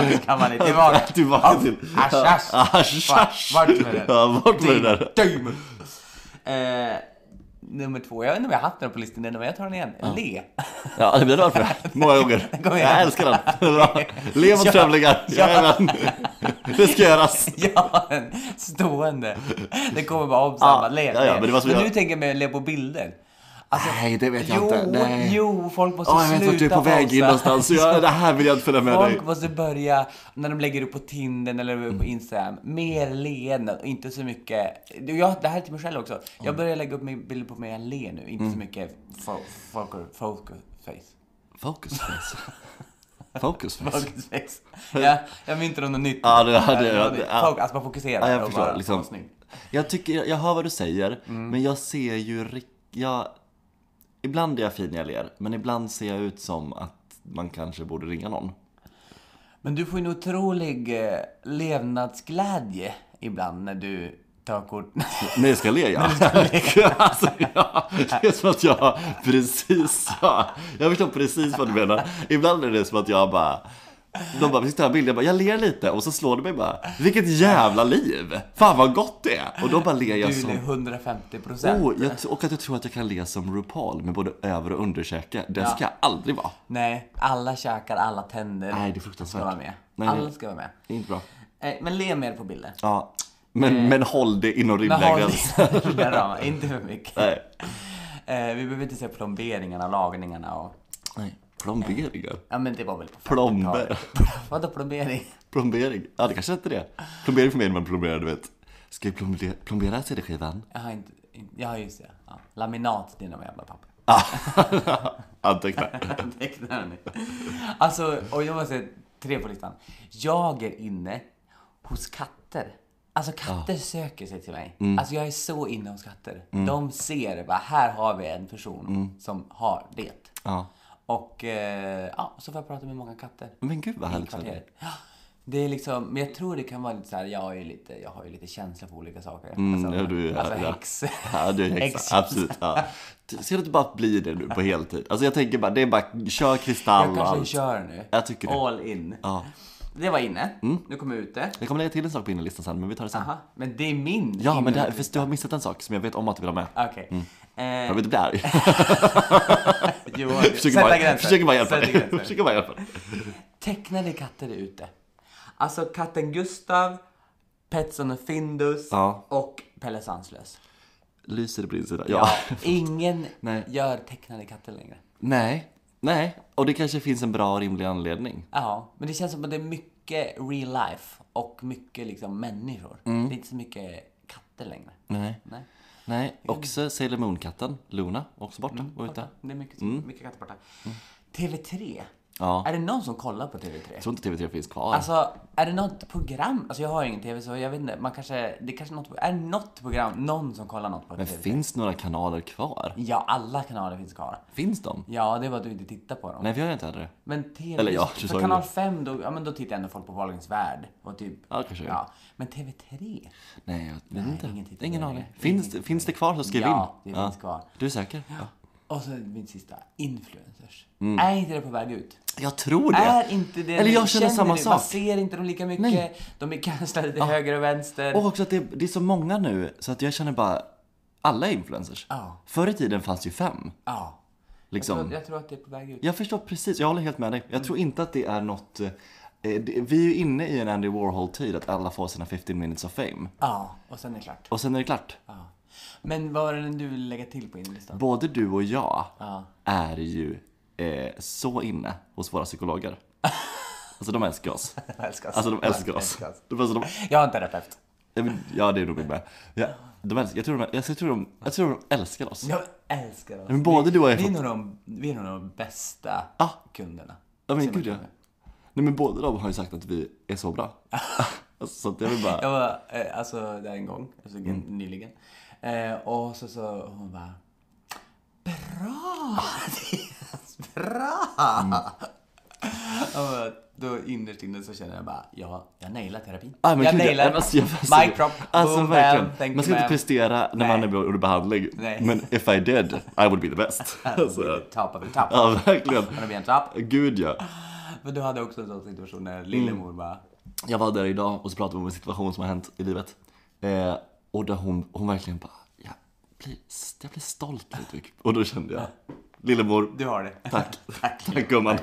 S2: det kan man inte vara. Alltså,
S1: Tillbaka till...
S2: Asch, asch.
S1: Asch, asch.
S2: Vart med det?
S1: Ah, Ja, bort med det där.
S2: Dum! Eh, nummer två, jag vet inte om jag har haft den på listan än, men jag tar den igen. Le.
S1: Ja, det blir bra för det. Många gånger.
S2: Kom igen.
S1: Jag älskar den. Det är bra. Lev och
S2: Ja.
S1: trevliga.
S2: Ja.
S1: Jajamän. Det ska göras.
S2: Jag har en stående. Det kommer bara obsamma.
S1: Ah,
S2: le.
S1: ja, ja, men det var som jag-
S2: du tänker med le på bilder. Alltså,
S1: Nej, det vet jag
S2: jo,
S1: inte. Nej.
S2: Jo, folk måste
S1: Åh, jag vet
S2: sluta
S1: vart du är på väg in
S2: posta.
S1: någonstans. Jag, det här vill jag inte följa med dig. Mm.
S2: Folk måste börja, när de lägger upp på Tinder eller på Instagram, mer leenden och inte så mycket... Du, Jag, det här är till mig själv också.
S1: Mm.
S2: Jag börjar lägga upp min- bilder på mer jag ler nu, inte så mycket fo- folk- focus face.
S1: Focus face. Focus face.
S2: Focus face. Jag, jag myntar om något nytt.
S1: Ja, det- ja, det-
S2: Äh,
S1: ja,
S2: något
S1: det-
S2: nytt.
S1: ja.
S2: Folk- Alltså man fokuserar.
S1: Ja, jag
S2: och
S1: förstår.
S2: bara, Mm.
S1: liksom.
S2: "Vad snygg."
S1: Jag, tycker, jag hör vad du säger, men jag ser ju... rik- Jag, ibland är jag fin när jag ler, men ibland ser jag ut som att man kanske borde ringa någon.
S2: Men du får ju en otrolig eh, levnadsglädje ibland när du tar kort.
S1: När jag ska le ja. alltså, ja. Det är som att jag precis ja. Jag förstår precis vad du menar. Ibland är det som att jag bara de bara, vi ska ta en bild. Jag bara, jag ler lite och så slår det mig bara, vilket jävla liv! Fan vad gott det är! Och då bara ler jag
S2: Du
S1: som...
S2: är 150 procent.
S1: Oh, jag, och att jag tror att jag kan le som RuPaul med både över och underkäke. Det ska jag aldrig vara.
S2: Nej, alla käkar, alla tänder.
S1: Nej, det är fruktansvärt.
S2: Ska vara med.
S1: Nej,
S2: alla
S1: nej.
S2: ska vara med.
S1: Det är inte bra.
S2: Eh, Men le mer på bilden.
S1: Ja. Men, Eh, men håll det inom
S2: Men
S1: rimliga
S2: ha
S1: gränser.
S2: lite ramar, inte för mycket.
S1: Nej.
S2: Eh, Vi behöver inte se plomberingarna, lagningarna och...
S1: Nej. Plomberingar.
S2: Ja men det var väl på
S1: Plomber.
S2: Vadå plombering?
S1: Plombering? Ja, det kanske inte är det. Plombering för mig när man plomberar, du vet. Ska vi plombera, plombera CD-skivan?
S2: Jag har inte... inte- Ja just det. Ja. Laminat, det är några jävla papper.
S1: Anteckna.
S2: Tecknar ni? Alltså, och jag måste säga tre på listan. Jag är inne hos katter. Alltså
S1: Ah.
S2: katter söker sig till mig.
S1: Mm.
S2: Alltså jag är så inne hos katter. De ser, bara, här har vi en person
S1: Mm.
S2: som har det.
S1: Ja.
S2: Och eh, ja, så får jag prata med många katter
S1: Men gud vad
S2: i
S1: härligt. Fanny.
S2: kvarteret. Ja, det är liksom, men jag tror det kan vara lite så här, jag, är lite, jag har ju lite känsla för olika saker.
S1: Mm,
S2: alltså,
S1: ja, du är
S2: alltså
S1: ja.
S2: häx.
S1: Ja, du är häxa.
S2: Häxkänsla.
S1: Absolut. Ja. Ser du inte bara att bli det nu på heltid? Alltså jag tänker bara, det är bara kör kristall och
S2: Jag kanske
S1: allt.
S2: kör nu.
S1: Jag tycker det.
S2: All in.
S1: Ja. Mm.
S2: Det var inne. Nu kommer jag ute.
S1: Jag kommer lägga till en sak på innerlistan sen, men vi tar det sen.
S2: Aha, men det är min.
S1: Ja, men
S2: inre-
S1: det här, för du har missat en sak som jag vet om att du vill ha med.
S2: Okej.
S1: Jag
S2: Eh,
S1: vill inte bli arg.
S2: Johan,
S1: Försöker bara,
S2: sätta gränser.
S1: försöker bara hjälpa
S2: Sätta
S1: dig.
S2: gränser.
S1: Försöker bara hjälpa dig.
S2: Tecknade katter är ute. Alltså katten Gustav, Petson och Findus
S1: Ja.
S2: och Pelle Svanslös.
S1: Lyser det på din sida?
S2: Ja,
S1: Ja.
S2: ingen
S1: Nej.
S2: gör tecknade katter längre.
S1: Nej. Nej. Och det kanske finns en bra och rimlig anledning.
S2: Ja, men det känns som att det är mycket real life och mycket liksom människor.
S1: Mm.
S2: Det är inte så mycket katter längre.
S1: Nej.
S2: Nej.
S1: Nej, också Sailor Moon-katten, Luna, också borta. och ute.
S2: Borta. Det är mycket, mycket katter borta. TV3.
S1: Mm. Ja.
S2: Är det någon som kollar på TV3?
S1: Jag tror inte TV3 finns kvar.
S2: Alltså, är det något program? Alltså jag har ingen TV så jag vet inte, man kanske, det kanske är något, är det något program, någon som kollar något på
S1: men
S2: TV?
S1: finns några kanaler kvar?
S2: Ja, alla kanaler finns kvar.
S1: Finns de?
S2: Ja, det var att du inte tittar på dem.
S1: Nej, vi har ju inte heller det.
S2: Men TV,
S1: Eller ja, du sa
S2: för
S1: ju
S2: kanal
S1: det.
S2: 5 då, ja men då tittar ändå folk på Wahlgrens Värld och typ.
S1: Ja, kanske.
S2: Ja, men TV3?
S1: Nej, jag vet inte.
S2: ingen tittar
S1: ingen
S2: på
S1: aning.
S2: det.
S1: Finns, det- finns det kvar så skriv
S2: Ja,
S1: in.
S2: det finns kvar.
S1: Du är säker? Ja.
S2: Och så min sista, influencers. Är inte det på väg ut?
S1: Jag tror det.
S2: Är inte det,
S1: Mm. Eller jag känner samma
S2: du, Man
S1: sak.
S2: ser inte dem lika mycket, de är kanslade till höger och vänster.
S1: Och också att det, det är så många nu så att jag känner bara, alla är influencers.
S2: Ja.
S1: Förr i tiden fanns ju fem.
S2: Ja.
S1: Liksom.
S2: Jag, tror, jag tror att det är på väg ut.
S1: Jag förstår precis, jag håller helt med dig.
S2: Mm.
S1: Jag tror inte att det är något... eh, det- Vi är ju inne i en Andy Warhol-tid, att alla får sina 15 minutes of fame.
S2: Ja, och sen är det klart.
S1: Och sen är det klart.
S2: Ja. Men vad var det du ville lägga till på inlistan?
S1: Både du och jag
S2: Ja.
S1: är ju eh, så inne hos våra psykologer. Alltså de älskar oss. Alltså de älskar oss. De, alltså, de,
S2: Jag har en terapeut.
S1: ja, men- ja, det är nog min med. Ja, de älskar, jag, tror de, jag, tror de, jag tror de älskar oss.
S2: Jag älskar oss.
S1: Men både du och jag
S2: Vi är
S1: är
S2: nog de, vi är nog de bästa
S1: Ah.
S2: kunderna.
S1: Ja men
S2: Som
S1: gud
S2: jag
S1: ja.
S2: känner.
S1: Nej men båda de har ju sagt att vi är så bra. Alltså, så att jag vill bara...
S2: Jag var eh, alltså, där en gång, alltså,
S1: Mm.
S2: nyligen. Eh, och så så hon bara
S1: Ah. Mm.
S2: Bra! Bra! Och då innerst inne så känner jag bara, ja, jag nailar terapin.
S1: Ah, men
S2: jag
S1: gud,
S2: nailar.
S1: alltså, jag-
S2: Mic drop.
S1: Alltså
S2: Boom,
S1: verkligen.
S2: bam, thank
S1: man ska
S2: you,
S1: inte
S2: ma'am.
S1: prestera när man
S2: Nej.
S1: är under behandling.
S2: Nej.
S1: Men if I did, I would be the best. Alltså,
S2: Top of the top.
S1: ja, verkligen.
S2: Men det blir en trapp.
S1: Gud ja.
S2: Men du hade också en sån situation när lillemor
S1: Mm.
S2: bara,
S1: Jag var där idag och så pratade vi om en situation som har hänt i livet. Eh, och där hon, hon verkligen bara, jag blir, jag blir stolt Ludvig. Och då kände jag, lillemor,
S2: du har det.
S1: tack.
S2: Tack.
S1: Tack gumman.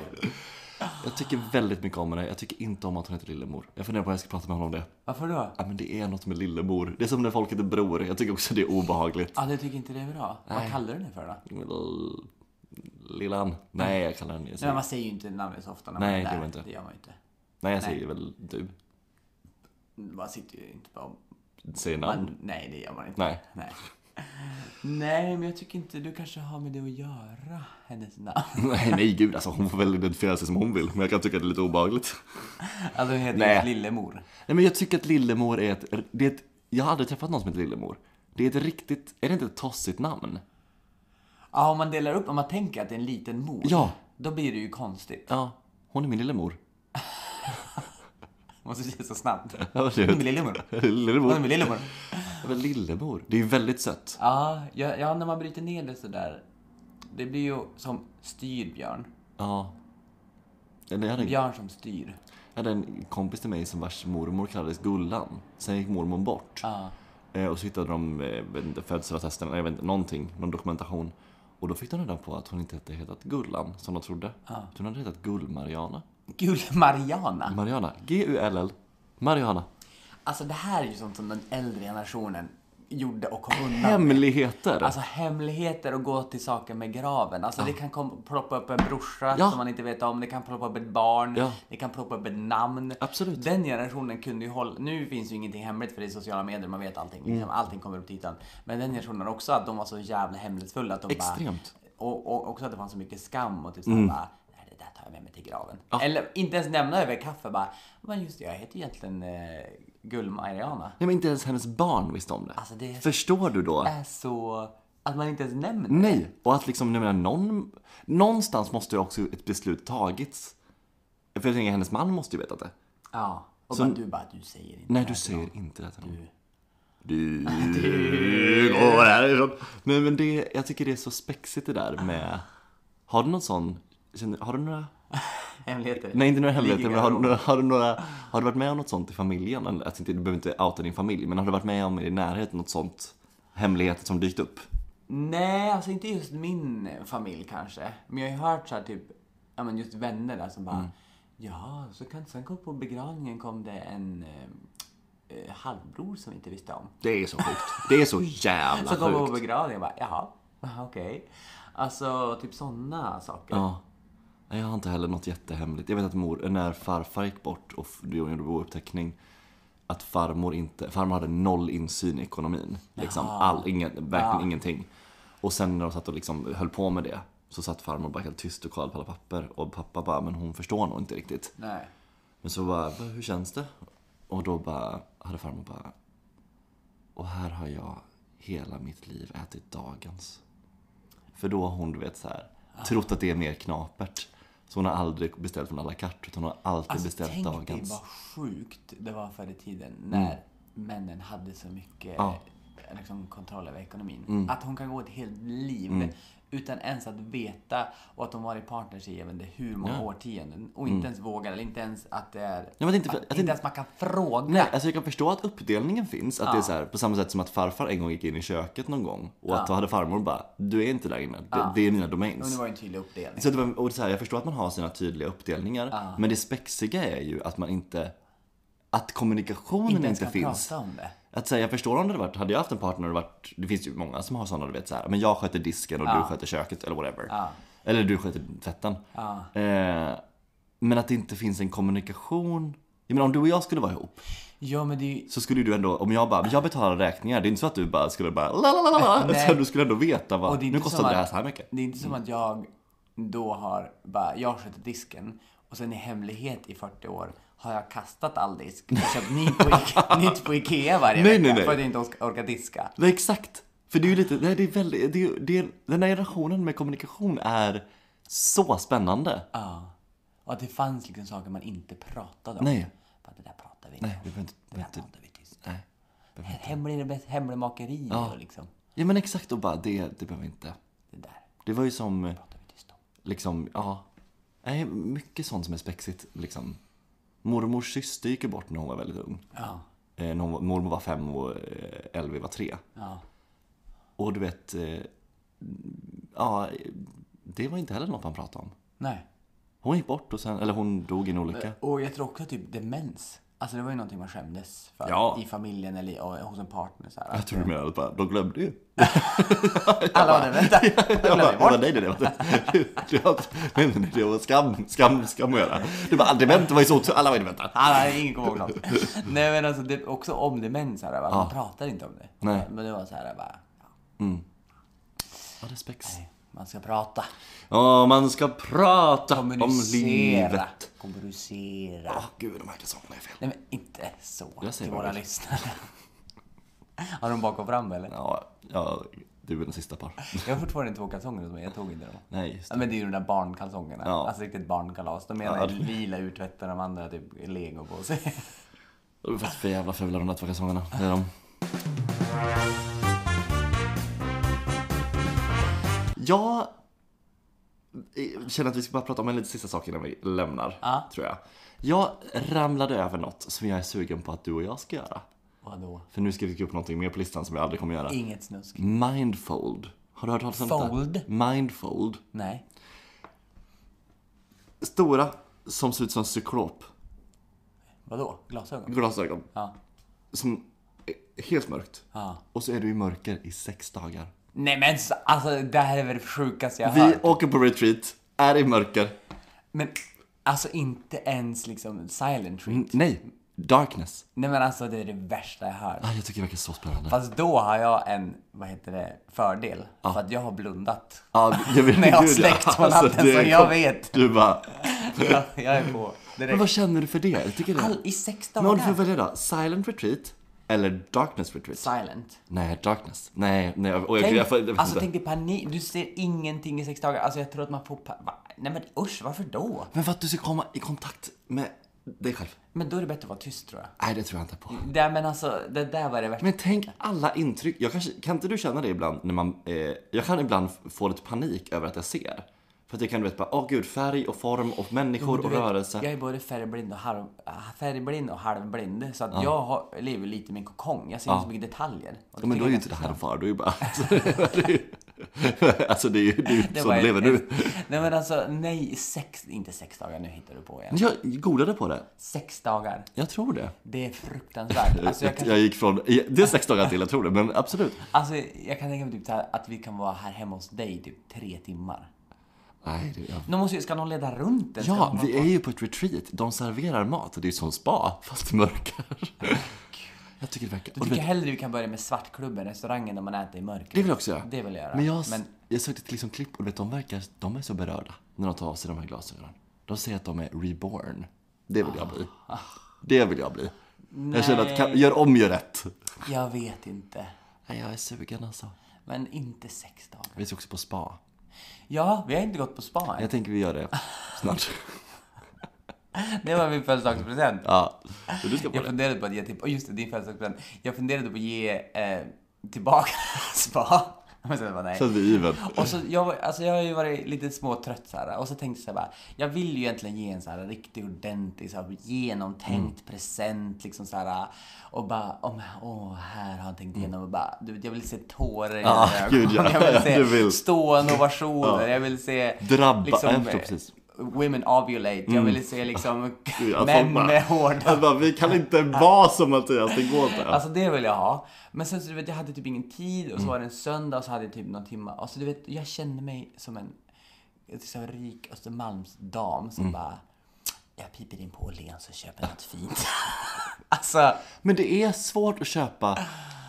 S1: Jag tycker väldigt mycket om henne. Jag tycker inte om att hon heter lillemor. Jag funderar på hur jag ska prata med honom om det.
S2: Varför då?
S1: Ja, men det är något med lillemor. Det är som när folk heter bror. Jag tycker också det är obehagligt.
S2: Ja, du tycker inte det är bra. Vad kallar du den för då?
S1: L- Lillan. Nej, jag kallar henne
S2: Nej, men
S1: så.
S2: man säger ju inte namnet så ofta när
S1: Nej,
S2: man
S1: det gör
S2: är där.
S1: man inte.
S2: Det gör man ju inte.
S1: Nej, jag säger väl du.
S2: Man sitter ju inte bara
S1: Säger namn.
S2: man, Nej, det gör man inte.
S1: Nej.
S2: Nej. Nej, men jag tycker inte du kanske har med det att göra, hennes namn.
S1: Nej, nej gud alltså. Hon får väl identifiera sig som hon vill. Men jag kan tycka att det är lite obehagligt.
S2: Alltså hon heter
S1: Nej.
S2: just Lillemor.
S1: Nej, men jag tycker att Lillemor är ett... Det är ett jag har aldrig träffat någon som heter Lillemor. Det är ett riktigt... Är det inte ett tossigt namn?
S2: Ja, om man delar upp, om man tänker att det är en liten mor.
S1: Ja.
S2: Då blir det ju konstigt.
S1: Ja. Hon är min lillemor.
S2: Man måste säga så snabbt.
S1: Ja, det är-
S2: Hon är min Lillemor. Hon är
S1: Lillemor.
S2: min Lillemor.
S1: Ja, men Lillemor. Det är ju väldigt sött.
S2: Ja, ja, ja, när man bryter ner det sådär. Det blir ju som styrd björn.
S1: Ja. Eller jag hade en
S2: Björn som styr.
S1: Jag hade en kompis till mig som vars mormor kallades Gullan. Sen gick mormor bort.
S2: Ja.
S1: Eh, och så hittade de eh, jag vet inte, födelsedattesten, eller jag vet inte, någonting, någon dokumentation. Och då fick de reda på att hon inte hade hetat Gullan, som de trodde. Utan Hon hade hetat Gull-Mariana.
S2: Gul Mariana.
S1: Mariana. G-U-L-L. Mariana.
S2: Alltså det här är ju sånt som den äldre generationen gjorde och kom undan med.
S1: Hemligheter!
S2: Alltså hemligheter och gå till saker med graven. Alltså det kan kom, ploppa upp en brorsa
S1: Ja.
S2: som man inte vet om, det kan ploppa upp ett barn,
S1: Ja.
S2: det kan ploppa upp ett namn.
S1: Absolut.
S2: Den generationen kunde ju hålla, nu finns ju ingenting hemligt för det är sociala medier, man vet allting.
S1: Mm.
S2: Liksom, Allting kommer upp till ytan. Men den generationen också, att de var så jävla hemlighetsfulla att de bara...
S1: Extremt. Mm.
S2: Och, och också att det fanns så mycket skam och typ såhär bara, nej det där tar jag med mig till graven. Eller inte ens nämna över kaffe bara, men just det, jag heter egentligen eh, Gull-Mariana.
S1: Nej men inte ens hennes barn visste om det.
S2: Alltså, det är- Äh.
S1: Förstår du då?
S2: Är så... Att man inte ens nämner det.
S1: Nej! Och att liksom, jag menar, någon... Någonstans måste ju också ett beslut tagits. För jag tänker, hennes man måste ju vetat det.
S2: Ja. Och bara, du bara, du säger inte.
S1: Nej, du säger inte det till någon. Du, går härifrån. Nej, men det, jag tycker det är så spexigt det där med... Har du någon sån... känner- Har du några...
S2: Hemligheter.
S1: Nej, inte några hemligheter,
S2: Ligger
S1: men har, du
S2: garderob.
S1: några- har du några... Har du varit med om något sånt i familjen? Eller, alltså, inte, du behöver inte outa din familj, men har du varit med om i din närhet något sånt? Hemligheter som dykt upp?
S2: Nej, alltså inte just min eh, familj kanske. Men jag har ju hört så här typ, ja men just vänner där som bara,
S1: Mm.
S2: ja, så kan, sen kom på begravningen kom det en eh, eh, halvbror som vi inte visste om.
S1: Det är så sjukt. Det är så jävla
S2: Så kom på
S1: sjukt.
S2: begravningen och bara, jaha, okej. Alltså typ sådana saker.
S1: Ja. Nej, Jag har inte heller något jättehemligt. Jag vet att mor, när farfar gick bort och f- då gjorde bouppteckning att farmor inte, farmor hade noll insyn i ekonomin. Liksom all, ingen, verkligen ingenting. Och sen när de satt och liksom höll på med det så satt farmor bara helt tyst och kollade på alla papper och pappa bara, men hon förstår nog inte riktigt.
S2: Nej.
S1: Men så bara, "Va, hur känns det? Och då bara, hade farmor bara, och här har jag hela mitt liv ätit dagens. För då har hon, du vet så här,
S2: Ah.
S1: trott att det är mer knapert. Så hon har aldrig beställt från à la carte, utan hon har alltid
S2: Alltså
S1: beställt
S2: tänk dig
S1: dagens. Mm.
S2: vad sjukt det var förr i tiden när männen hade så mycket
S1: Ja. Mm.
S2: eh, liksom, kontroll över ekonomin. Att hon kan gå ett helt liv utan ens att veta och att de varit partners i jag vet inte hur många årtionden och inte ens vågar eller inte ens att det är...
S1: Mm. men att inte- att
S2: inte
S1: inte-
S2: ens man kan fråga.
S1: Nej, alltså jag kan förstå att uppdelningen finns. Att det är så här, på samma sätt som att farfar en gång gick in i köket någon gång och att då hade farmor bara, du är inte där inne, det, det är mina
S2: Men det
S1: domains.
S2: var ju en tydlig uppdelning.
S1: Så det var, och så här, jag förstår att man har sina tydliga uppdelningar,
S2: Ah.
S1: men det spexiga är ju att man inte, att kommunikationen
S2: inte
S1: inte,
S2: ens kan
S1: finns.
S2: prata om det.
S1: Att säga, jag förstår om det hade varit, hade jag haft en partner och det varit, det finns ju många som har sådana, du vet så här, men jag sköter disken
S2: Ah.
S1: och du sköter köket eller whatever. Eller du sköter tvätten.
S2: Ah.
S1: Eh, men att det inte finns en kommunikation. Jag menar om du och jag skulle vara ihop
S2: Ja, men det är ju...
S1: så skulle ju du ändå, om jag bara, men jag betalar räkningar, det är inte så att du bara skulle bara la, la, la, la, la.
S2: Nej.
S1: Så Du skulle ändå veta
S2: Och
S1: vad,
S2: det är
S1: nu
S2: inte
S1: kostar
S2: som
S1: det här
S2: att-
S1: så här mycket.
S2: Det är inte som att jag då har bara, jag sköter disken och sen i hemlighet i 40 år har jag kastat all disk och köpt nytt på, Ike- nytt på Ikea varje
S1: Nej,
S2: vecka
S1: nej, nej.
S2: för att jag inte ork- orkar diska.
S1: Nej exakt! För det är ju lite, nej, det är väldigt, det är, det är, den här generationen med kommunikation är så spännande.
S2: Och att det fanns liksom saker man inte pratade om.
S1: Nej.
S2: Bara, det där pratar vi inte
S1: Nej,
S2: om.
S1: vi behöver inte...
S2: Det
S1: vi
S2: där
S1: behöver inte-
S2: pratar vi tyst om.
S1: Nej.
S2: Hemlig, bäst- hemligmakeri
S1: Ja.
S2: och liksom.
S1: Ja men exakt och bara det, det behöver vi inte.
S2: Det där
S1: Det var ju som eh,
S2: pratar vi tyst om.
S1: liksom, ja. Nej, mycket sånt som är spexigt liksom. Mormors syster gick ju bort när hon var väldigt ung.
S2: Ja.
S1: Eh, när hon var, mormor var fem och eh, Elvi var tre.
S2: Ja.
S1: Och du vet, eh, ja, det var inte heller något man pratade om.
S2: Nej.
S1: Hon gick bort och sen, eller hon dog i en olycka.
S2: Och jag tror också typ demens. Alltså det var ju någonting man skämdes för.
S1: Ja.
S2: I familjen eller i, och hos en partner så här.
S1: Jag tror du menade bara, de glömde ju.
S2: Alla var det, vänta.
S1: Jag bara,
S2: glömde bort.
S1: bara, nej, nej, nej, nej, nej, nej, nej, det var skam, skam, skam att göra. Du bara, dement var ju så, alla var ju dementa.
S2: Alla hade Ah, ingen kommer ihåg något. Nej men alltså det, också om demens här, va? man pratar inte om det.
S1: Nej.
S2: Men det var så här bara, ja,
S1: Ja, det är spex.
S2: man ska prata.
S1: Ja, man ska prata om
S2: Kommunicera.
S1: livet.
S2: Kommunicera.
S1: Åh, gud, de här kalsongerna är fel.
S2: Nej men inte så
S1: Jag säger
S2: till
S1: vad
S2: våra
S1: jag vill.
S2: lyssnare. Har de bakom fram eller?
S1: Ja, ja, du är den sista par.
S2: Jag har fortfarande två kalsonger hos mig, jag tog inte dem.
S1: Nej, just
S2: Ja,
S1: det.
S2: men det är ju de där barnkalsongerna.
S1: Ja.
S2: Alltså riktigt barnkalas. De ena
S1: Ja,
S2: är
S1: det-
S2: lila urtvättade, de andra har typ lego på sig.
S1: De är faktiskt för jävla fula de där två kalsongerna. Det är de. Jag eh, känner att vi ska bara prata om en liten sista sak innan vi lämnar,
S2: Ja.
S1: tror jag. Jag ramlade över något som jag är sugen på att du och jag ska göra.
S2: Vadå?
S1: För nu ska vi skriva upp någonting mer på listan som jag aldrig kommer göra.
S2: Inget snusk.
S1: Mindfold. Har du hört talas om
S2: Fold?
S1: detta? Mindfold.
S2: Nej.
S1: Stora, som ser ut som cyklop.
S2: Vadå? Glasögon?
S1: Glasögon.
S2: Ja.
S1: Som är helt mörkt.
S2: ja.
S1: Och så är du i mörker i sex dagar.
S2: Nej men s- alltså det här är väl det sjukaste jag har
S1: Vi
S2: hört.
S1: åker på retreat, är i mörker.
S2: Men alltså inte ens liksom silent treat.
S1: Nej, darkness.
S2: Nej men alltså det är det värsta jag har hört.
S1: Ah, jag tycker det verkar så spännande. Ja,
S2: Fast då har jag en, vad heter det, fördel. För att jag har blundat.
S1: jag vet,
S2: När jag har
S1: gud,
S2: släckt på natten,
S1: det
S2: så
S1: är-
S2: jag vet.
S1: Du bara,
S2: Jag, jag är på
S1: men
S2: direkt.
S1: vad känner du för det? Jag tycker det.
S2: All, I sex
S1: men om du får
S2: dagar?
S1: välja då, silent retreat eller darkness retreat?
S2: Silent.
S1: nej, darkness. Nej, nej, jag, och jag,
S2: Tänk,
S1: jag, får- jag vet
S2: alltså
S1: inte.
S2: tänk dig panik, du ser ingenting i sex dagar. Alltså jag tror att man får pa- va? Nej men usch, varför då?
S1: Men för att du ska komma i kontakt med dig själv.
S2: Men då är det bättre att vara tyst tror jag.
S1: Nej, det tror jag inte på.
S2: Det, men alltså, det där var det värsta.
S1: Men tänk alla intryck. Jag kanske, kan inte du känna det ibland när man... Eh, jag kan ibland f- få lite panik över att jag ser. För att jag kan du vet bara, åh gud, färg och form och människor
S2: Du
S1: och
S2: vet,
S1: rörelse.
S2: Jag är både färgblind och, halv, äh, färgblind och halvblind. Så att jag har, lever lite i min kokong. Jag ser inte så mycket detaljer. Och
S1: Ja, men då
S2: tycker
S1: är ju
S2: jag
S1: inte det här en fara, då är ju bara... alltså det är ju, det är ju
S2: Det
S1: så
S2: var
S1: du
S2: ett-
S1: lever nu.
S2: ett- Nej men alltså, nej, sex, inte sex dagar, nu hittar du på igen.
S1: Jag googlade på det.
S2: Sex dagar,
S1: Jag tror det.
S2: det är fruktansvärt. Alltså jag
S1: jag,
S2: kan,
S1: gick från... Det är sex dagar till, jag tror det. Men absolut.
S2: alltså, jag kan tänka mig typ så här, att vi kan vara här hemma hos dig i typ tre timmar.
S1: Nej, det, jag...
S2: De måste, ju- ska någon leda runt den? Ska
S1: Ja,
S2: någon-
S1: vi är ju på ett retreat. De serverar mat. Det är ju som spa, fast i mörker. Jag tycker det verkar...
S2: Jag tycker hellre vi kan börja med Svartklubben, restaurangen där man äter i mörker.
S1: Det vill jag också göra.
S2: Det vill jag göra.
S1: Men jag,
S2: Men-
S1: jag sökte till liksom klipp och du vet, de verkar, de är så berörda när de tar av sig de här glasögonen. De säger att de är reborn. Det vill jag bli. Det vill jag bli. Jag känner att, kan,
S2: Nej.
S1: gör om, gör rätt.
S2: Jag vet inte.
S1: Nej, jag är sugen alltså.
S2: Men inte sex dagar.
S1: Vi ska också på spa.
S2: Ja, vi har inte gått på spa än.
S1: Jag tänker vi gör det snart.
S2: Det var min födelsedagspresent.
S1: Ja, så du ska på
S2: Jag
S1: det.
S2: funderade på att ge till... Oh, just det, din födelsedagspresent. Jag funderade på att ge eh, tillbaka spa. Men sen bara nej.
S1: Så att vi är even.
S2: Och så, jag, var- alltså jag har ju varit lite småtrött så här. Och så tänkte jag så här bara, jag vill ju egentligen ge en så här riktig ordentlig, så här,
S1: Mm.
S2: genomtänkt present liksom så här. Och bara, åh, men, åh här har han tänkt igenom och bara, du vet, jag vill se tårar i
S1: Ja,
S2: dina
S1: gud, ja.
S2: Jag vill se
S1: Du vill.
S2: stående ovationer, jag vill se
S1: Drabba- ja, jag förstår
S2: eh,
S1: precis.
S2: Women ovulate, jag vill se liksom
S1: Gud, att folk
S2: män
S1: bara-
S2: med hårda
S1: att bara, vi kan inte vara som Mattias, det går inte.
S2: Alltså det vill jag ha. Men sen så du vet, jag hade typ ingen tid och så var det en söndag och så hade jag typ någon timme. Alltså du vet, jag kände mig som en liksom, rik Östermalmsdam som bara jag piper in på Åhléns och köper något fint. alltså,
S1: Men det är svårt att köpa.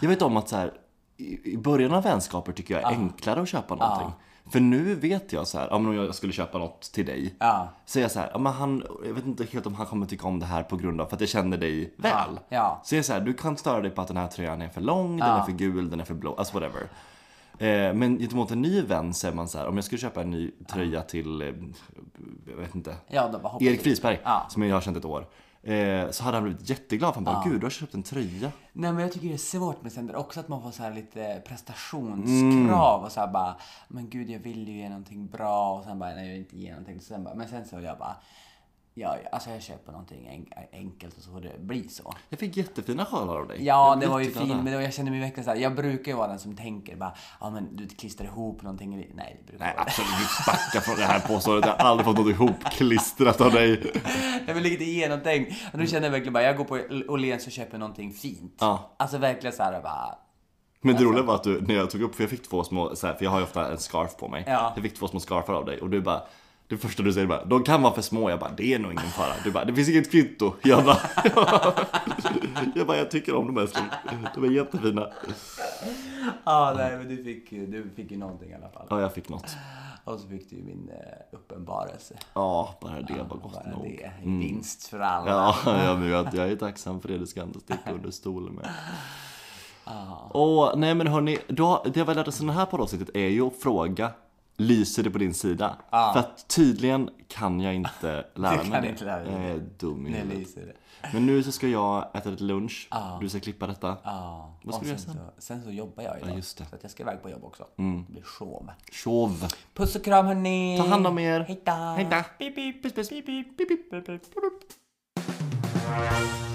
S1: Jag vet om att så här, i i början av vänskaper tycker jag är enklare att köpa någonting. För nu vet jag så här, ja, men om jag skulle köpa något till dig.
S2: Ja.
S1: Så är jag så här, ja, men han, jag vet inte helt om han kommer tycka om det här på grund av för att jag känner dig väl.
S2: Ja.
S1: Så jag är så här, du kan störa dig på att den här tröjan är för lång, den är för gul, den är för blå, alltså whatever. Eh, men gentemot en ny vän så är man så här, om jag skulle köpa en ny tröja till, eh, jag vet inte,
S2: Ja, då bara hoppar
S1: Erik
S2: vi.
S1: Frisberg,
S2: Ja.
S1: som jag har känt ett år. Eh, så hade han blivit jätteglad för han bara, gud du har köpt en tröja.
S2: Nej men jag tycker det är svårt med stand-up också att man får så här lite prestationskrav och så här bara Men gud jag vill ju ge någonting bra och sen bara nej jag vill inte ge någonting sen bara, Men sen så jag bara Ja, alltså jag köper någonting en- enkelt och så får det bli så.
S1: Jag fick jättefina sjalar av dig.
S2: Ja,
S1: Jag
S2: det
S1: blev
S2: var ju
S1: jätteglad
S2: fint,
S1: där.
S2: men det var, jag kände mig verkligen såhär, jag brukar ju vara den som tänker bara, ja men du klistrar ihop någonting, eller- nej det brukar
S1: Nej
S2: jag inte.
S1: absolut, backa från det här påståendet. Jag har aldrig fått något ihopklistrat av dig.
S2: Jag vill lite genomtänkt. Och
S1: Mm.
S2: nu känner jag verkligen bara, jag går på Åhléns och köper någonting fint.
S1: Ja.
S2: Alltså verkligen såhär bara,
S1: Men det roliga var att du, när jag tog upp, för jag fick två små, så här, för jag har ju ofta en scarf på mig.
S2: Ja.
S1: Jag fick två små scarfar av dig och du bara, det första du säger bara, de kan vara för små. Jag bara, det är nog ingen fara. Du bara, det finns inget kvitto. Jag bara, jag, bara jag tycker om dem älskling. De är jättefina.
S2: ja
S1: Mm.
S2: nej men du fick, ju- du fick ju någonting i alla fall.
S1: Ja, jag fick något.
S2: Och så fick du ju min eh, uppenbarelse.
S1: Ja, bara det var gott
S2: Bara
S1: nog.
S2: det, i vinst för alla.
S1: Mm. Ja, jag, men jag, jag är tacksam för det. Det ska jag inte sticka under stolen med. Åh, nej men hörni, då, det jag vill lära oss i det här poddavsnittet är ju att fråga Lyser det på din sida? För att tydligen kan jag inte lära
S2: kan
S1: mig det.
S2: inte lära dig
S1: jag
S2: det.
S1: är dum i
S2: Det
S1: huvudet.
S2: lyser det.
S1: Men nu så ska jag äta lite lunch. Du ska klippa detta.
S2: Ja.
S1: Vad ska
S2: och
S1: du göra
S2: sen? Så, sen så jobbar jag idag.
S1: just det.
S2: Så att jag ska iväg på jobb också. Det blir show.
S1: Tjov!
S2: Puss och kram hörni!
S1: Ta hand om er!
S2: Hej då!
S1: Hej då! Pip, pip, puss, puss. Pip, pip, pip, pip, pip, pip.